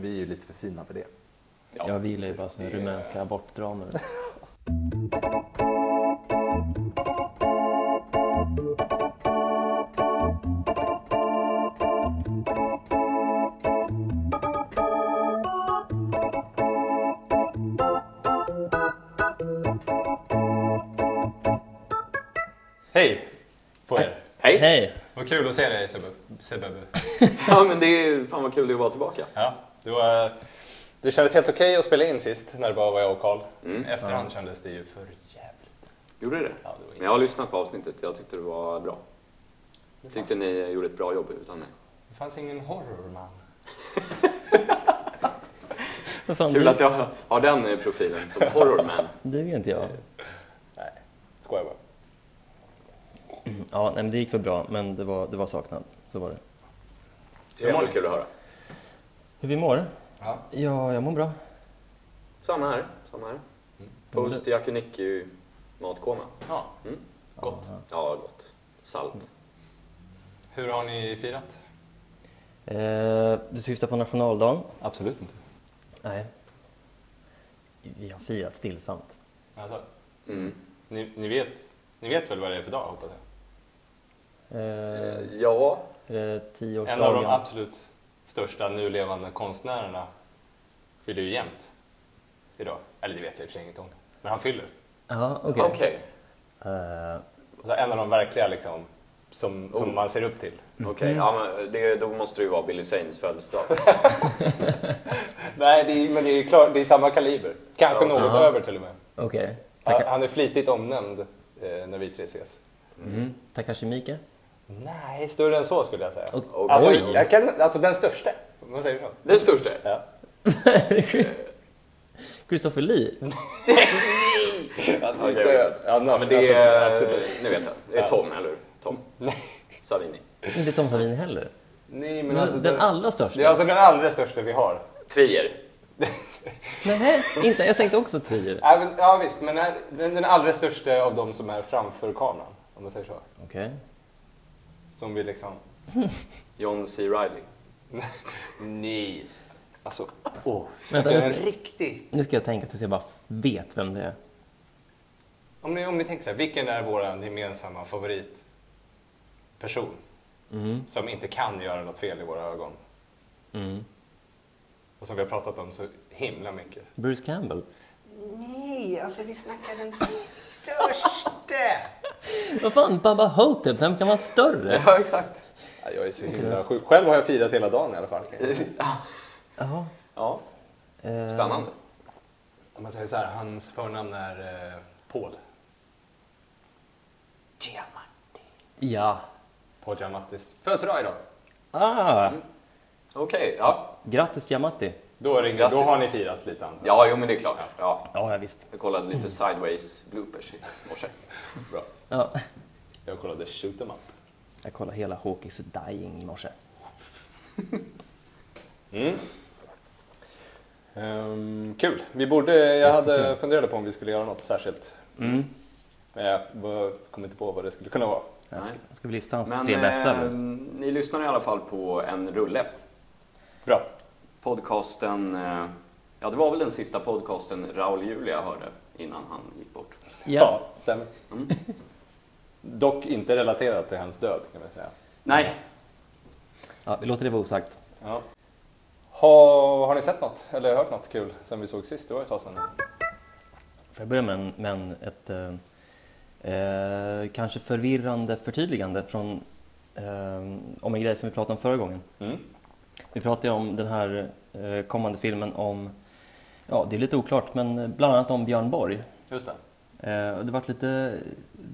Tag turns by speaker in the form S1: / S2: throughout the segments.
S1: Vi är ju lite för fina för det.
S2: Jag vill ju bara såna rumänska abortdramer.
S3: Hej på er!
S4: Hej!
S2: Hej!
S3: Vad kul att se dig Sebbe- Sebebe.
S4: Ja men det är ju fan vad kul det är att vara tillbaka.
S3: Ja, det, var, det kändes helt okej att spela in sist när det bara var jag och Karl. Efterhand kändes det ju för jävligt.
S4: Mm. Gjorde det?
S3: Ja, det var
S4: Men jag har lyssnat på avsnittet, jag tyckte det var bra. Jag tyckte ni gjorde ett bra jobb utan mig.
S3: Det fanns ingen horror man.
S2: Vad fan,
S4: Kul
S2: du,
S4: att jag har den eh, profilen som horrorman.
S2: du är inte jag.
S3: Nej, skojar bara.
S2: Ja, nej, men det gick väl bra, men det var, det var saknad. Så var det.
S4: Det är ändå kul att höra.
S2: Hur vi mår?
S3: Ja.
S2: Ja, jag mår bra.
S4: Samma här, samma här.
S3: Mm.
S4: Post yakiniku matkoma.
S3: Ja.
S4: Mm.
S3: Gott.
S4: Ja, gott. Salt.
S3: Hur har ni firat?
S2: Eh, du syftar på nationaldagen?
S3: Absolut inte.
S2: Nej. Vi har firat stillsamt.
S3: Alltså,
S4: Mm.
S3: ni, ni, vet, ni vet väl vad det är för dag hoppas jag?
S2: Eh, är
S4: Eh, Ja,
S2: det
S3: En av de
S2: tioårsdagen?
S3: absolut största nu levande konstnärerna fyller ju jämt idag. Eller det vet jag i och för sig inget om. Men han fyller.
S2: Ja, okej.
S4: okej.
S2: Eh,
S3: Alltså, En av de verkliga liksom, som, som
S4: Oh.
S3: man ser upp till.
S4: Okej, ja, men det, då måste det ju vara Billy Sains födelsedag.
S3: Nej, det är, men det är, klart, det är samma kaliber. Kanske
S4: Ja,
S3: något
S2: aha.
S3: över till och med.
S2: Okej.
S3: Han,
S2: Taka-
S3: han är flitigt omnämnd eh, när vi tre ses.
S2: mm. Takashi Miike?
S3: Nej, större än så skulle jag säga.
S2: Och-
S4: Okej.
S3: Alltså,
S4: Oj.
S3: jag kan, alltså den största. Vad säger du? då?
S4: Den största?
S3: Ja.
S2: Christopher Lee?
S3: Han är
S4: Okej.
S3: död. Annars,
S4: Ja, men det är...
S3: alltså, absolut.
S4: Nu vet jag. Det är Tom, eller hur? Tom
S3: Nej,
S4: Savini.
S2: Inte Tom Savini heller.
S3: Nej, men
S2: Men
S3: alltså,
S2: den allra
S3: det
S2: största?
S3: är alltså den allra största vi har.
S4: Trier.
S2: Nej, inte. Jag tänkte också Trier.
S3: Ja, men, ja visst, men den, den, den allra största av de som är framför kameran, om man säger så.
S2: Okej.
S3: Som vi liksom...
S4: John C. Reilly.
S3: Nej. Alltså, åh.
S2: Vänta, nu
S3: en
S2: ska-
S3: riktig...
S2: Nu ska jag tänka tills jag bara vet vem det är.
S3: Om ni, om ni tänker så här, vilken är vår gemensamma favoritperson?
S4: Mm.
S3: Som inte kan göra något fel i våra ögon. Och som vi har pratat om så himla mycket.
S2: Bruce Campbell.
S3: Nej, alltså vi snackar den största!
S2: Vad fan, Baba Hotep, vem kan vara större?
S3: ja, exakt. Ja, jag är så himla sjuk. Själv har jag firat hela dagen i alla fall.
S2: Ja.
S4: Ja,
S2: eh,
S4: spännande.
S3: Om man säger så här, hans förnamn är eh, Paul. Giamatti.
S2: Ja.
S3: Paul Giamattis födelsedag idag.
S2: Ah,
S4: Okej, ja.
S2: grattis Giamatti.
S3: Då, ringer, då
S4: Grattis.
S3: har ni firat lite antar jag.
S4: Ja, jo men det är klart. Ja.
S2: Ja, ja visst.
S4: Jag kollade lite sideways bloopers i morse.
S3: Bra.
S2: Ja.
S3: Jag kollade Shoot 'em up.
S2: Jag kollade hela Hawkins Dying i morse.
S3: Ehm, kul. Vi borde, jag hade funderat på om vi skulle göra något särskilt. Men jag var- kom inte på vad det skulle kunna vara.
S2: Jag ska,
S4: Nej.
S2: ska vi lista hans
S4: Men
S2: tre bästa?
S4: eh,
S2: eller?
S4: ni lyssnar i alla fall på En rulle.
S3: Bra.
S4: Podcasten, eh, ja det var väl den sista podcasten Raul Julia hörde innan han gick bort.
S2: Ja.
S3: stämmer. Mm. Dock inte relaterat till hans död kan man säga.
S4: Nej,
S2: ja. Vi låter det vara osagt.
S3: Ja. Ha, har ni sett något eller hört något kul sen vi såg sist? Det var ett tag sedan.
S2: Får jag börja med, en, med en, ett eh, eh, kanske förvirrande förtydligande från, eh, om en grej som vi pratade om förra gången.
S3: Mm.
S2: Vi pratade ju om den här eh, kommande filmen om, ja det är lite oklart, men eh, bland annat om Björn Borg.
S3: Just det.
S2: Eh, och det vart lite,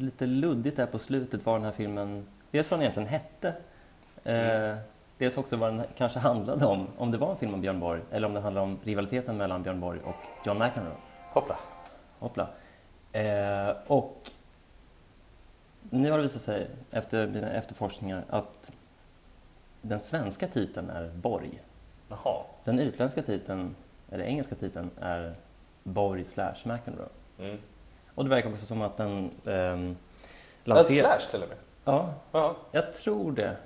S2: lite luddigt där på slutet vad den här filmen, dels vad den egentligen hette, eh, dels också vad den kanske handlade om, om det var en film om Björn Borg eller om det handlade om rivaliteten mellan Björn Borg och John McEnroe.
S3: Hoppla.
S2: Hoppla. Eh, och nu har det visat sig efter mina efterforskningar att den svenska titeln är Borg.
S3: Jaha.
S2: Den utländska titeln, eller engelska titeln, är Borg slash McEnroe.
S3: Mm.
S2: Och det verkar också som att den ehm,
S3: En
S2: lanser-
S3: slash till och med.
S2: Ja,
S3: Ja.
S2: jag tror det.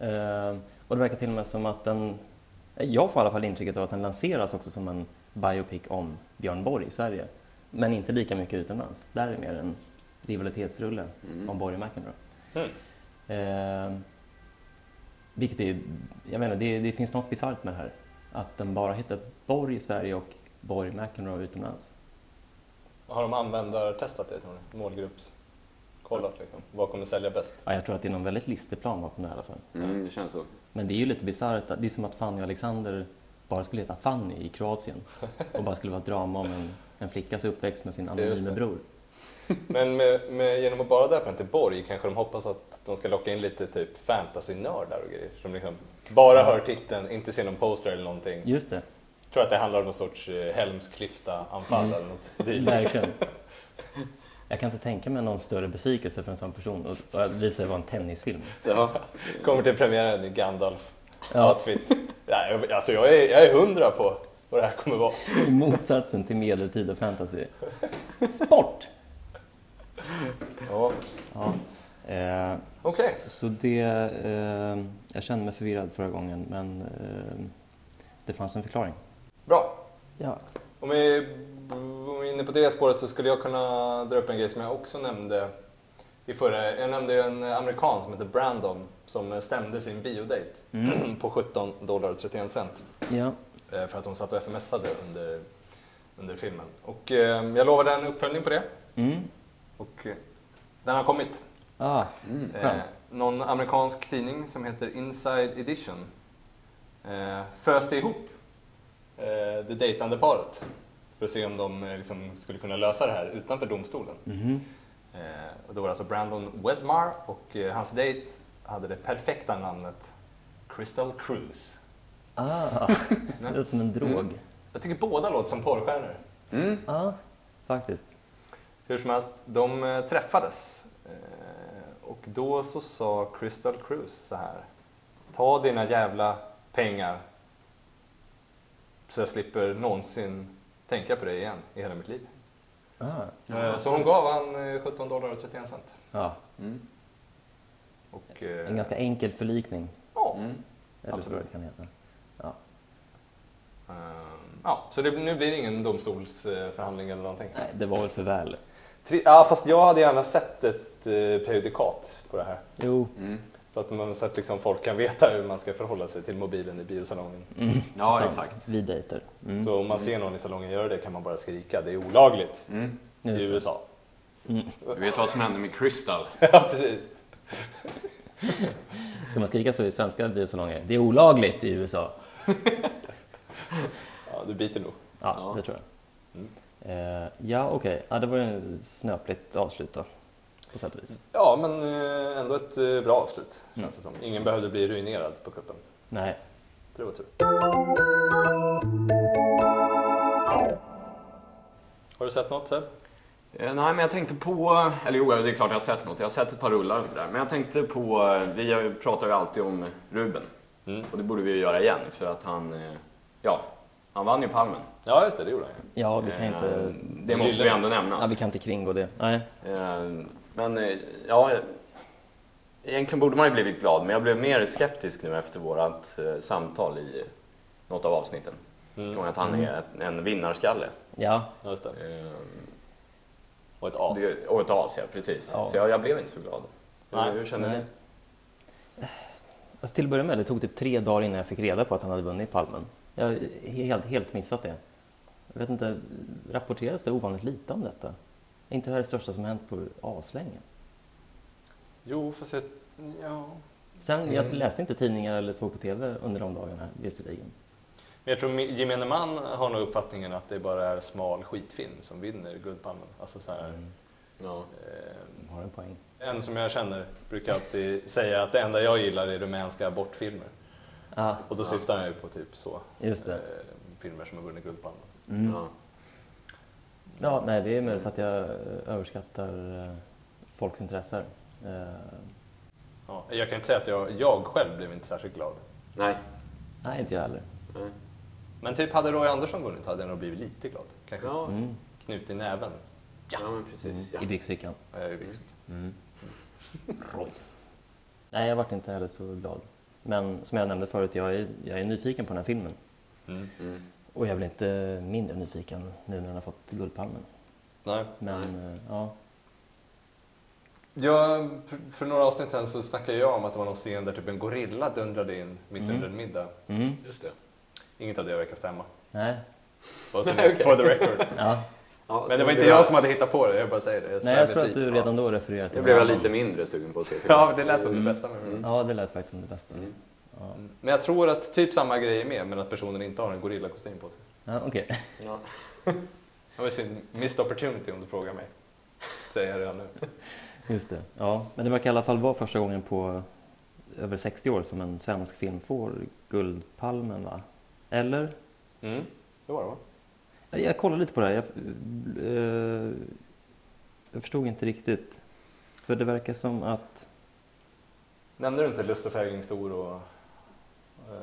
S2: Ehm, och det verkar till och med som att den Jag får i alla fall intrycket av att den lanseras också som en biopic om Björn Borg i Sverige. Men inte lika mycket utomlands. Där är det mer en rivalitetsrulle
S4: Mm.
S2: om Borg och McEnroe.
S3: Mm.
S2: Eh, vilket är, jag menar, det, det finns något bisarrt med det här. Att den bara heter Borg i Sverige och Borg McEnroe utomlands.
S3: Har de användartestat det tror ni? Målgrupps? Kollat liksom, vad kommer sälja bäst?
S2: Ja, jag tror att det är någon väldigt listig plan bakom det här i alla fall.
S4: Mm, det känns så.
S2: Men det är ju lite bisarrt, att- det är som att Fanny och Alexander bara skulle heta Fanny i Kroatien och bara skulle vara ett drama om en, en flickas uppväxt med sin
S3: Just det.
S2: anonyme bror.
S3: Men med, med, genom att bara döpa den till Borg kanske de hoppas att de ska locka in lite typ fantasy-nördar och grejer som liksom bara hör titeln, inte ser någon poster eller någonting.
S2: Just det,
S3: tror att det handlar om någon sorts eh, Helmsklyfta-anfall eller något dylikt.
S2: verkligen. Jag kan inte tänka mig någon större besvikelse för en sån person och och att visa det var en tennisfilm.
S4: Ja.
S3: Kommer till premiären i
S2: Ja,
S3: Gandalf-outfit. Nej, jag- Alltså jag är, jag är hundra på vad det här kommer vara.
S2: motsatsen till medeltida fantasy. Sport!
S3: Ja.
S2: Ja. Eh,
S3: Okej.
S2: s- Så det... Eh, jag kände mig förvirrad förra gången, men eh, det fanns en förklaring.
S3: Bra.
S2: Ja.
S3: Om vi, om vi är inne på det spåret så skulle jag kunna dra upp en grej som jag också nämnde i förra. Jag nämnde ju en amerikan som heter Brandon som stämde sin biodate på 17 dollar och 31 cent.
S2: ja.
S3: Eh, för att hon satt och smsade under, under filmen. Och eh, jag lovade en uppföljning på det
S2: Mm.
S3: och eh, den har kommit.
S2: Ah,
S3: Eh,
S2: skönt.
S3: någon amerikansk tidning som heter Inside Edition eh, föste ihop eh, det dejtande paret för att se om de eh, liksom, skulle kunna lösa det här utanför domstolen.
S2: Mhm.
S3: Eh, och då var det alltså Brandon Wesmar och eh, hans dejt hade det perfekta namnet Crystal Cruise.
S2: Ah, Mm. det är som en drog.
S3: Jag tycker båda låter som porrstjärnor.
S4: Mm.
S2: Ja, faktiskt.
S3: Hur som helst, de eh, träffades. Eh, Och då så sa Crystal Cruise så här. Ta dina jävla pengar. Så jag slipper någonsin tänka på dig igen i hela mitt liv.
S2: Ah.
S3: Eh, Så hon gav han eh, 17 dollar och 31 cent.
S2: Ja,
S4: Mm.
S3: Och,
S2: en
S3: eh,
S2: ganska enkel förlikning.
S3: ja.
S4: Mm.
S2: Eller så
S3: Absolut.
S2: vad det kan heta. Ja.
S3: Eh, ja, så det, nu blir det ingen domstolsförhandling eller någonting.
S2: Nej, det var väl för väl.
S3: Tri- ja, fast jag hade gärna sett ett eh, prejudikat på det här.
S2: Jo,
S4: Mm.
S3: Så att, man, så att liksom folk kan veta hur man ska förhålla sig till mobilen i biosalongen.
S4: Ja,
S2: sant.
S4: exakt.
S2: Vi dejter. Mm.
S3: Så om man ser någon i salongen göra det kan man bara skrika, det är olagligt
S4: Mm.
S2: Just
S3: i
S2: det.
S3: USA.
S4: Du vet vad som hände med Crystal?
S3: ja, precis.
S2: Ska man skrika så i svenska biosalonger? Det är olagligt i USA.
S3: Ja, du biter nog.
S2: Ja,
S4: Ja.
S2: det tror jag. Eh, ja, okej. Ja, det var ju ett snöpligt avslut då. På sätt och vis.
S3: Ja, men eh, ändå ett eh, bra avslut känns det som. Ingen behövde bli ruinerad på kuppen.
S2: Nej.
S3: Det var tur. Har du sett något Seb?
S4: Eh, Nej, men jag tänkte på... Eller jo, det är klart jag har sett något. Jag har sett ett par rullar och sådär. Men jag tänkte på... eh, Vi har ju- pratar ju alltid om Ruben.
S2: Mm.
S4: Och det borde vi ju göra igen, för att han... eh, Ja, han vann ju Palmen.
S3: Ja, just det, det gjorde han ju.
S2: Ja, vi kan
S4: Eh,
S2: inte...
S4: Det måste ju ändå nämnas.
S2: Ja, vi kan inte kringgå det. Nej.
S4: Eh, Men eh, ja, eh, egentligen borde man ju blivit glad, men jag blev mer skeptisk nu efter vårt eh, samtal i något av avsnitten. Mm. Att han är ett- en vinnarskalle.
S2: Ja,
S3: Ja, just det.
S4: Eh,
S3: Och ett as.
S4: det- Och ett as, ja, precis.
S2: Ja.
S4: Så jag, jag blev inte så glad.
S3: Nej.
S4: Hur, hur känner
S2: Nej.
S4: ni?
S2: Alltså, till att börja med, det tog typ tre dagar innan jag fick reda på att han hade vunnit Palmen. Jag har helt, helt missat det. Jag vet inte, rapporteras det ovanligt lite om detta? Är inte det här det största som hänt på aslänge?
S3: Jo, fast jag... Ja.
S2: Sen, jag läste inte tidningar eller såg på TV under de dagarna, visserligen.
S3: Men jag tror mi- gemene man har nog uppfattningen att det bara är smal skitfilm som vinner Guldpalmen. Alltså så här,
S4: Ja.
S3: eh,
S2: De har en poäng.
S3: En som jag känner brukar alltid säga att det enda jag gillar är rumänska abortfilmer.
S2: Ja,
S3: Och då syftar han ju på typ så.
S2: just det.
S3: Eh, filmer som har vunnit Guldpalmen.
S4: Ja.
S2: Ja, nej, det är möjligt att jag eh, överskattar eh, folks intresse. här. Eh,
S3: Ja, jag kan inte säga att jag, jag själv blev inte särskilt glad.
S4: Nej.
S2: Nej, inte jag heller.
S4: Nej.
S3: Men typ hade Roy Andersson vunnit hade jag nog blivit lite glad. Kanske
S4: Ja.
S3: knut i näven.
S4: ja, men precis. Ja.
S2: I byxfickan.
S3: Mm. har jag ju visst.
S2: Nej, jag vart inte heller så glad. Men som jag nämnde förut, jag är, jag är nyfiken på den här filmen.
S3: Mm.
S2: Och jag blir inte mindre nyfiken nu när den har fått Guldpalmen.
S3: Nej.
S2: Men eh, ja,
S3: Jag, för- för några avsnitt sen så snackade jag om att det var någon scen där typ en gorilla dundrade in mitt
S2: Mm.
S3: under en middag.
S2: mm,
S4: Just det.
S3: Inget av det verkar stämma.
S2: nej.
S3: Bara så-
S4: Nej, okej.
S3: For the record.
S2: Ja.
S3: Men det var inte jag som hade hittat på det, jag bara säger det.
S2: nej,
S3: svär
S2: jag
S3: mig
S2: tror
S3: fri.
S2: att du redan då refererade till
S4: Det blev jag
S2: någon
S4: lite mindre sugen på att se filmen.
S3: Ja, det lät som
S2: Mm.
S3: det bästa med filmen.
S2: Ja, det lät faktiskt som det bästa.
S4: Mm.
S2: Ja.
S3: Men jag tror att typ samma grej är med, men att personen inte har en gorillakostym på sig.
S2: Ja, Okej,
S4: Ja.
S3: Det var ju sin missed opportunity om du frågar mig. Säger jag redan nu.
S2: just det. Ja. Men det verkar i alla fall vara första gången på över 60 år som en svensk film får Guldpalmen, va? Eller?
S3: Mm. Det var det va?
S2: Jag- Jag kollade lite på det här. Jag, eh, jag förstod inte riktigt. För det verkar som att...
S3: Nämnde du inte Lust och fägring stor och eh,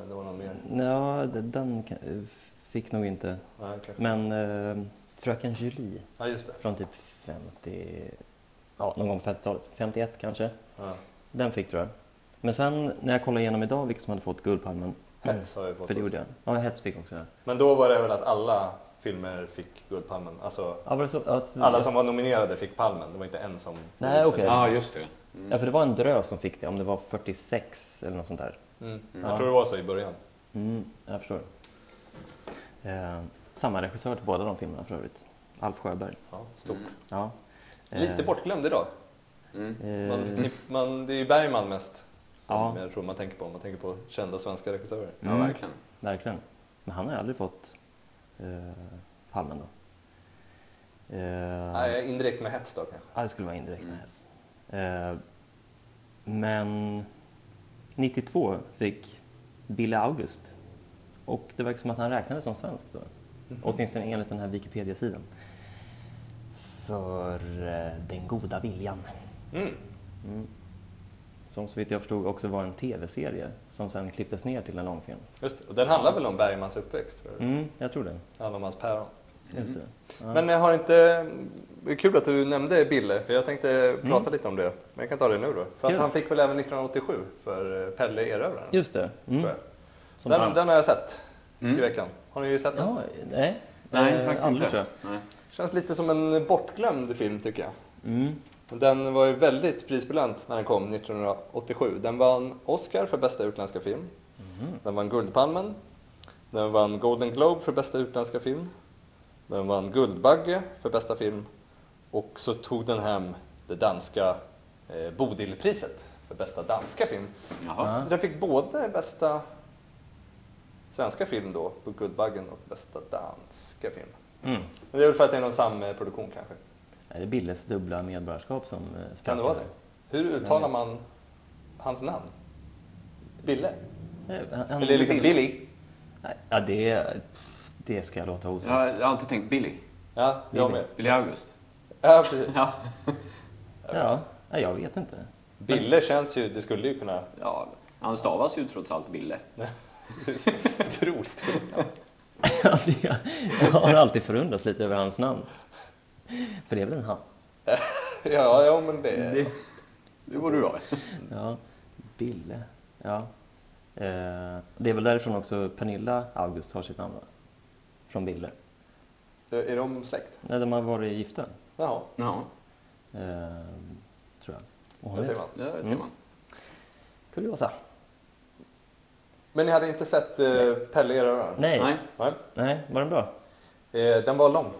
S3: det var någon mer?
S2: Ja, den kan- fick nog inte.
S3: Nej, kanske.
S2: Men eh, Fröken Julie
S3: Ja, just det.
S2: från typ 50... Ja, någon gång på 50-talet. 51 kanske.
S3: Ja.
S2: Den fick tror jag. Men sen när jag kollade igenom idag vilka som hade fått Guldpalmen.
S3: Hets har jag fått.
S2: För det
S3: också.
S2: gjorde jag. Ja, Hets fick också det.
S3: Men då var det väl att alla filmer fick Guldpalmen? Alltså,
S2: Ja, var det så? Ja,
S3: alla som var nominerade fick Palmen, det var inte en som...
S2: Mm. Nej,
S3: utsåg.
S2: okej.
S4: Ja, just det. Mm.
S2: Ja, för det var en drös som fick det. Om det var 46 eller något sånt där.
S3: Mm.
S4: Mm.
S3: Jag tror det var så i början.
S2: Mm, jag förstår. Eh, samma regissör till båda de filmerna för övrigt. Alf Sjöberg.
S3: Ja, stort.
S2: Ja. Eh,
S3: Lite bortglömd idag.
S4: Mm.
S2: eh,
S3: Man, förknipp- man, det är ju Bergman mest som
S2: Ja.
S3: jag tror man tänker på. Man tänker på kända svenska regissörer.
S4: Ja,
S2: Mm.
S4: verkligen.
S2: Verkligen. Men han har ju aldrig fått eh, Palmen då. Eh,
S3: Nej, indirekt med hets då kanske.
S2: Ja, det skulle vara indirekt
S4: Mm.
S2: näs. Eh, men 92 fick Billy August och det verkar som att han räknades som svensk då.
S4: Mhm.
S2: Åtminstone enligt den här Wikipedia-sidan. För eh, Den goda viljan.
S3: Mm.
S2: Mm. Som så vitt jag förstod också var en tv-serie som sen klipptes ner till en långfilm.
S3: Just det. Och den handlar väl om Bergmans uppväxt? För
S2: Mm, jag tror det.
S3: Handlar om hans päron.
S2: Just
S4: Mm.
S2: det. Ja.
S3: Men jag har inte... Det är kul att du nämnde Bille, för jag tänkte prata lite om det. Men jag kan ta det nu då. För att
S2: Mm. Kul.
S3: han fick väl även 1987 för eh, Pelle Erövraren.
S2: Just det.
S3: tror
S2: Mm.
S3: jag.
S2: Som
S3: Den,
S2: dansk.
S3: den har jag sett i
S4: Mm.
S3: veckan. Har ni sett den?
S2: Ja, nej.
S4: Nej,
S2: Eh,
S4: faktiskt
S2: aldrig, tror
S4: inte.
S2: jag.
S4: Nej.
S3: Känns lite som en bortglömd film tycker jag.
S2: Mm.
S3: Den var ju väldigt prisbelönt när den kom 1987. Den vann Oscar för bästa utländska film. Den vann Guldpalmen. Den vann Golden Globe för bästa utländska film. Den vann Guldbagge för bästa film. Och så tog den hem det danska eh, Bodilpriset för bästa danska film.
S4: Jaha.
S3: Så den fick både bästa svenska film då på Guldbaggen och bästa danska film.
S2: Mm.
S3: Men det är väl för att det är någon samproduktion kanske.
S2: Är det Billes dubbla medborgarskap som eh, spökar?
S3: Kan det vara det? Hur uttalar man hans namn? Bille?
S2: Nej, han- Eh, han-
S3: Eller liksom Billy?
S2: Nej, Ja, det, det ska jag låta osagt.
S4: Jag har alltid tänkt Billy.
S3: Ja, jag med.
S4: Billy August.
S3: Ja, precis.
S4: Ja.
S2: Ja, ja, jag vet inte.
S3: Bille känns ju, det skulle ju kunna...
S4: ja. Han stavas ju trots allt Bille.
S3: Otroligt sjukt namn.
S2: jag har alltid förundrats lite över hans namn. För det är väl en han?
S3: Ja, ja, men det...
S4: Det borde du vara.
S2: Ja, Bille. Ja. Eh, det är väl därifrån också Pernilla August har sitt namn, va? Från Bille.
S3: Är de släkt?
S2: Nej, de har varit gifta,
S3: Jaha,
S4: Ja,
S2: eh, tror jag. Och hon
S3: det ser
S2: heter
S3: man.
S4: det ser
S2: Mm.
S4: man.
S2: Kuriosa.
S3: Men ni hade inte sett eh, Pelle Erövra?
S2: Nej.
S4: Nej.
S2: Nej. Nej, var den bra?
S3: Eh, den var lång.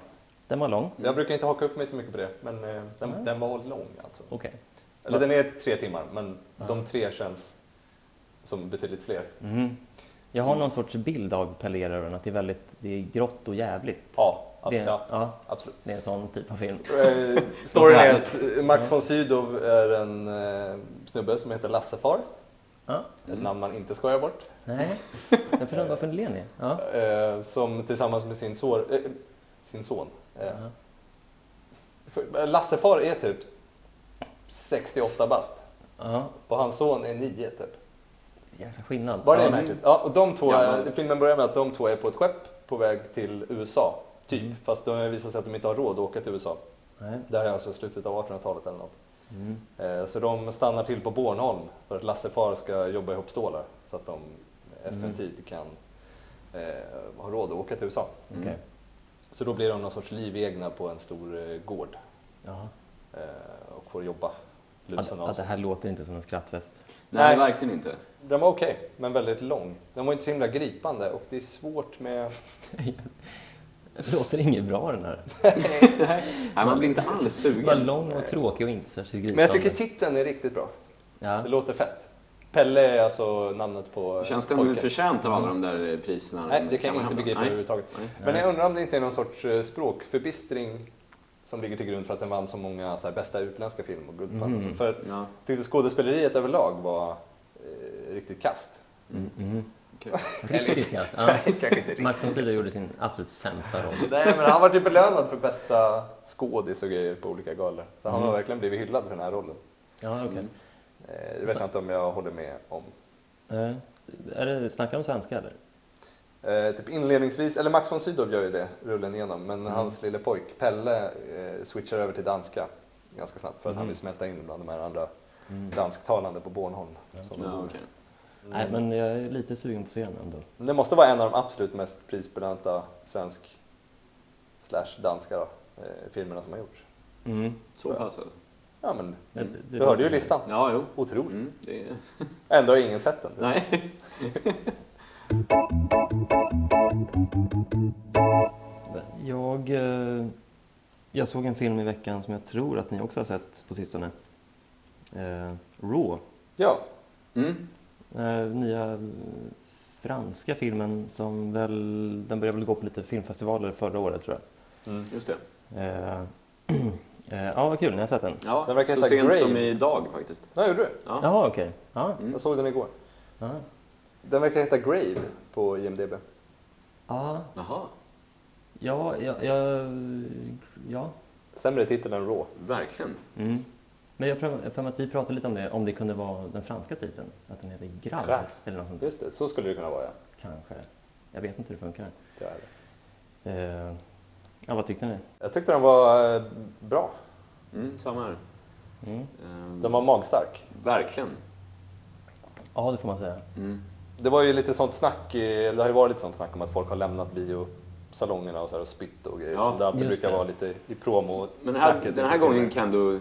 S2: Den var lång.
S3: Jag brukar inte haka upp mig så mycket på det, men eh, den, den var lång alltså.
S2: Okej.
S3: Eller den är tre timmar, men de tre känns som betydligt fler.
S2: Mm. Jag har någon sorts bild av Pelleraren, att det är väldigt det är grått och jävligt.
S3: Ja, ab-
S2: Det, är-
S3: ja
S2: ja,
S3: absolut.
S2: det är en sån typ av film.
S3: Eh, Storyn är
S4: härligt.
S3: att eh, Max von Sydow är en eh, snubbe som heter Lassefar.
S2: Ja.
S3: Ett namn man inte skojar bort.
S2: Nej, jag förstår inte varför den ler ni. Ja.
S3: Eh, som tillsammans med sin, sår, eh, sin son. Eh,
S2: Ja.
S3: för- eh, Lassefar är typ 68 bast
S2: Ja.
S3: och hans son är 9 typ.
S2: Jäkla skillnad.
S3: Bara det är
S2: ja,
S3: märkligt. Ja, och de två
S4: Ja,
S3: är,
S4: men-
S3: filmen börjar med att de två är på ett skepp på väg till USA. Typ, fast det har visat sig att de inte har råd att åka till USA.
S2: Nej.
S3: Det här är alltså slutet av 1800-talet eller något.
S2: Mm.
S3: Eh, Så de stannar till på Bornholm för att Lassefar ska jobba ihop stålar. Så så att de efter en tid kan eh, ha råd att åka till USA.
S2: Okej.
S3: Så då blir de någon sorts livegna på en stor eh, gård
S2: Jaha.
S3: eh, och får jobba
S2: Att,
S3: lusen av
S2: att det
S3: sig.
S2: här låter inte som en skrattfest.
S4: Nej,
S3: Nej.
S4: verkligen inte.
S3: Den var okej, men väldigt lång. Den var inte så himla gripande och det är svårt med...
S2: Det låter inget bra den här.
S4: Nej, man blir inte alls
S2: Den var
S4: sugen.
S2: lång och tråkig och inte särskilt gripande.
S3: Men jag tycker titeln är riktigt bra.
S2: ja.
S3: Det låter fett. Pelle är alltså namnet på eh,
S4: Känns den
S3: pojken.
S4: förtjänt av alla de där eh, priserna?
S3: Nej,
S4: de
S3: det kan jag
S4: kammar
S3: inte
S4: hem?
S3: begripa
S4: Nej.
S3: överhuvudtaget.
S4: Nej.
S3: Men jag undrar om det inte är någon sorts eh, språkförbistring som ligger till grund för att den vann så många så här, bästa utländska film och Guldpalmen.
S2: Mm.
S3: För jag
S4: Ja,
S3: tyckte skådespeleriet överlag var eh, riktigt kast.
S2: Mm, mm.
S4: okej.
S2: Riktigt kanske. Ja.
S3: Kanske inte riktigt.
S2: Max von Sydow gjorde sin absolut sämsta roll.
S3: Nej, men han var typ belönad för bästa skådis och grejer på olika galor. Så han har verkligen blivit hyllad för den här rollen.
S2: Ja, okej.
S3: Eh, det vet jag inte om jag håller med om. Mm.
S2: Eh, Är det, snackar de svenska eller?
S3: Eh, typ inledningsvis, eller Max von Sydow gör ju det rullen igenom,
S4: Mm.
S3: men hans lille pojk Pelle eh, switchar över till danska ganska snabbt för att
S4: Mm.
S3: han vill smälta in bland de här andra dansktalande på Bornholm. Som de
S4: Ja,
S3: bor i.
S4: okej.
S3: Mm.
S2: Nej, men jag är lite sugen på att se den ändå.
S3: Men Det måste vara en av de absolut mest prisbelönta svensk slash danska då, eh, filmerna som har gjorts. Mm.
S4: Så pass alltså.
S3: Ja, men
S2: Men det- det
S3: du hörde ju
S2: låter-
S3: listan.
S4: Ja, jo.
S3: Otroligt.
S4: Mm, det är...
S3: Ändå har ingen sett den. typ.
S4: Nej.
S2: Jag, eh, jag såg en film i veckan som jag tror att ni också har sett på sistone. Eh, Raw.
S3: Ja,
S4: Mm.
S2: Eh, nya eh, franska filmen som väl, den började väl gå på lite filmfestivaler förra året tror jag.
S4: Just det.
S2: Eh, eh, ja, vad kul, ni har sett den?
S4: Ja,
S3: Den verkar
S4: så
S3: heta
S4: sent
S3: Grave.
S4: som idag faktiskt.
S3: den gjorde du.
S4: Ja.
S2: Jaha, okej. Ja.
S4: Mm.
S3: Jag såg den igår.
S2: Ja.
S3: Den verkar heta Grave på IMDB.
S2: Ja,
S4: Jaha,
S2: ja, ja, ja, ja.
S3: Sämre titel än Raw.
S4: verkligen.
S2: Mm. Men jag pröv- för mig att vi pratade lite om det, om det kunde vara den franska titeln. Att den heter Grav
S3: Grav.
S2: eller något sånt.
S3: Just det, så skulle det kunna vara ja.
S2: Kanske. Jag vet inte hur det funkar.
S3: Det är det.
S2: Eh, ja, vad tyckte ni?
S3: Jag tyckte den var eh, bra.
S4: Mm, samma här.
S2: Mm.
S4: Ehm,
S3: Den var magstark.
S4: Verkligen.
S2: Ja, det får man säga.
S4: Mm.
S3: Det var ju lite sånt snack, eh, det har ju varit lite sånt snack om att folk har lämnat biosalongerna och, så här, och spytt och grejer.
S4: Ja,
S3: som det alltid
S2: just
S3: brukar
S2: det.
S3: vara lite i promo
S4: Men här, den här gången kan du...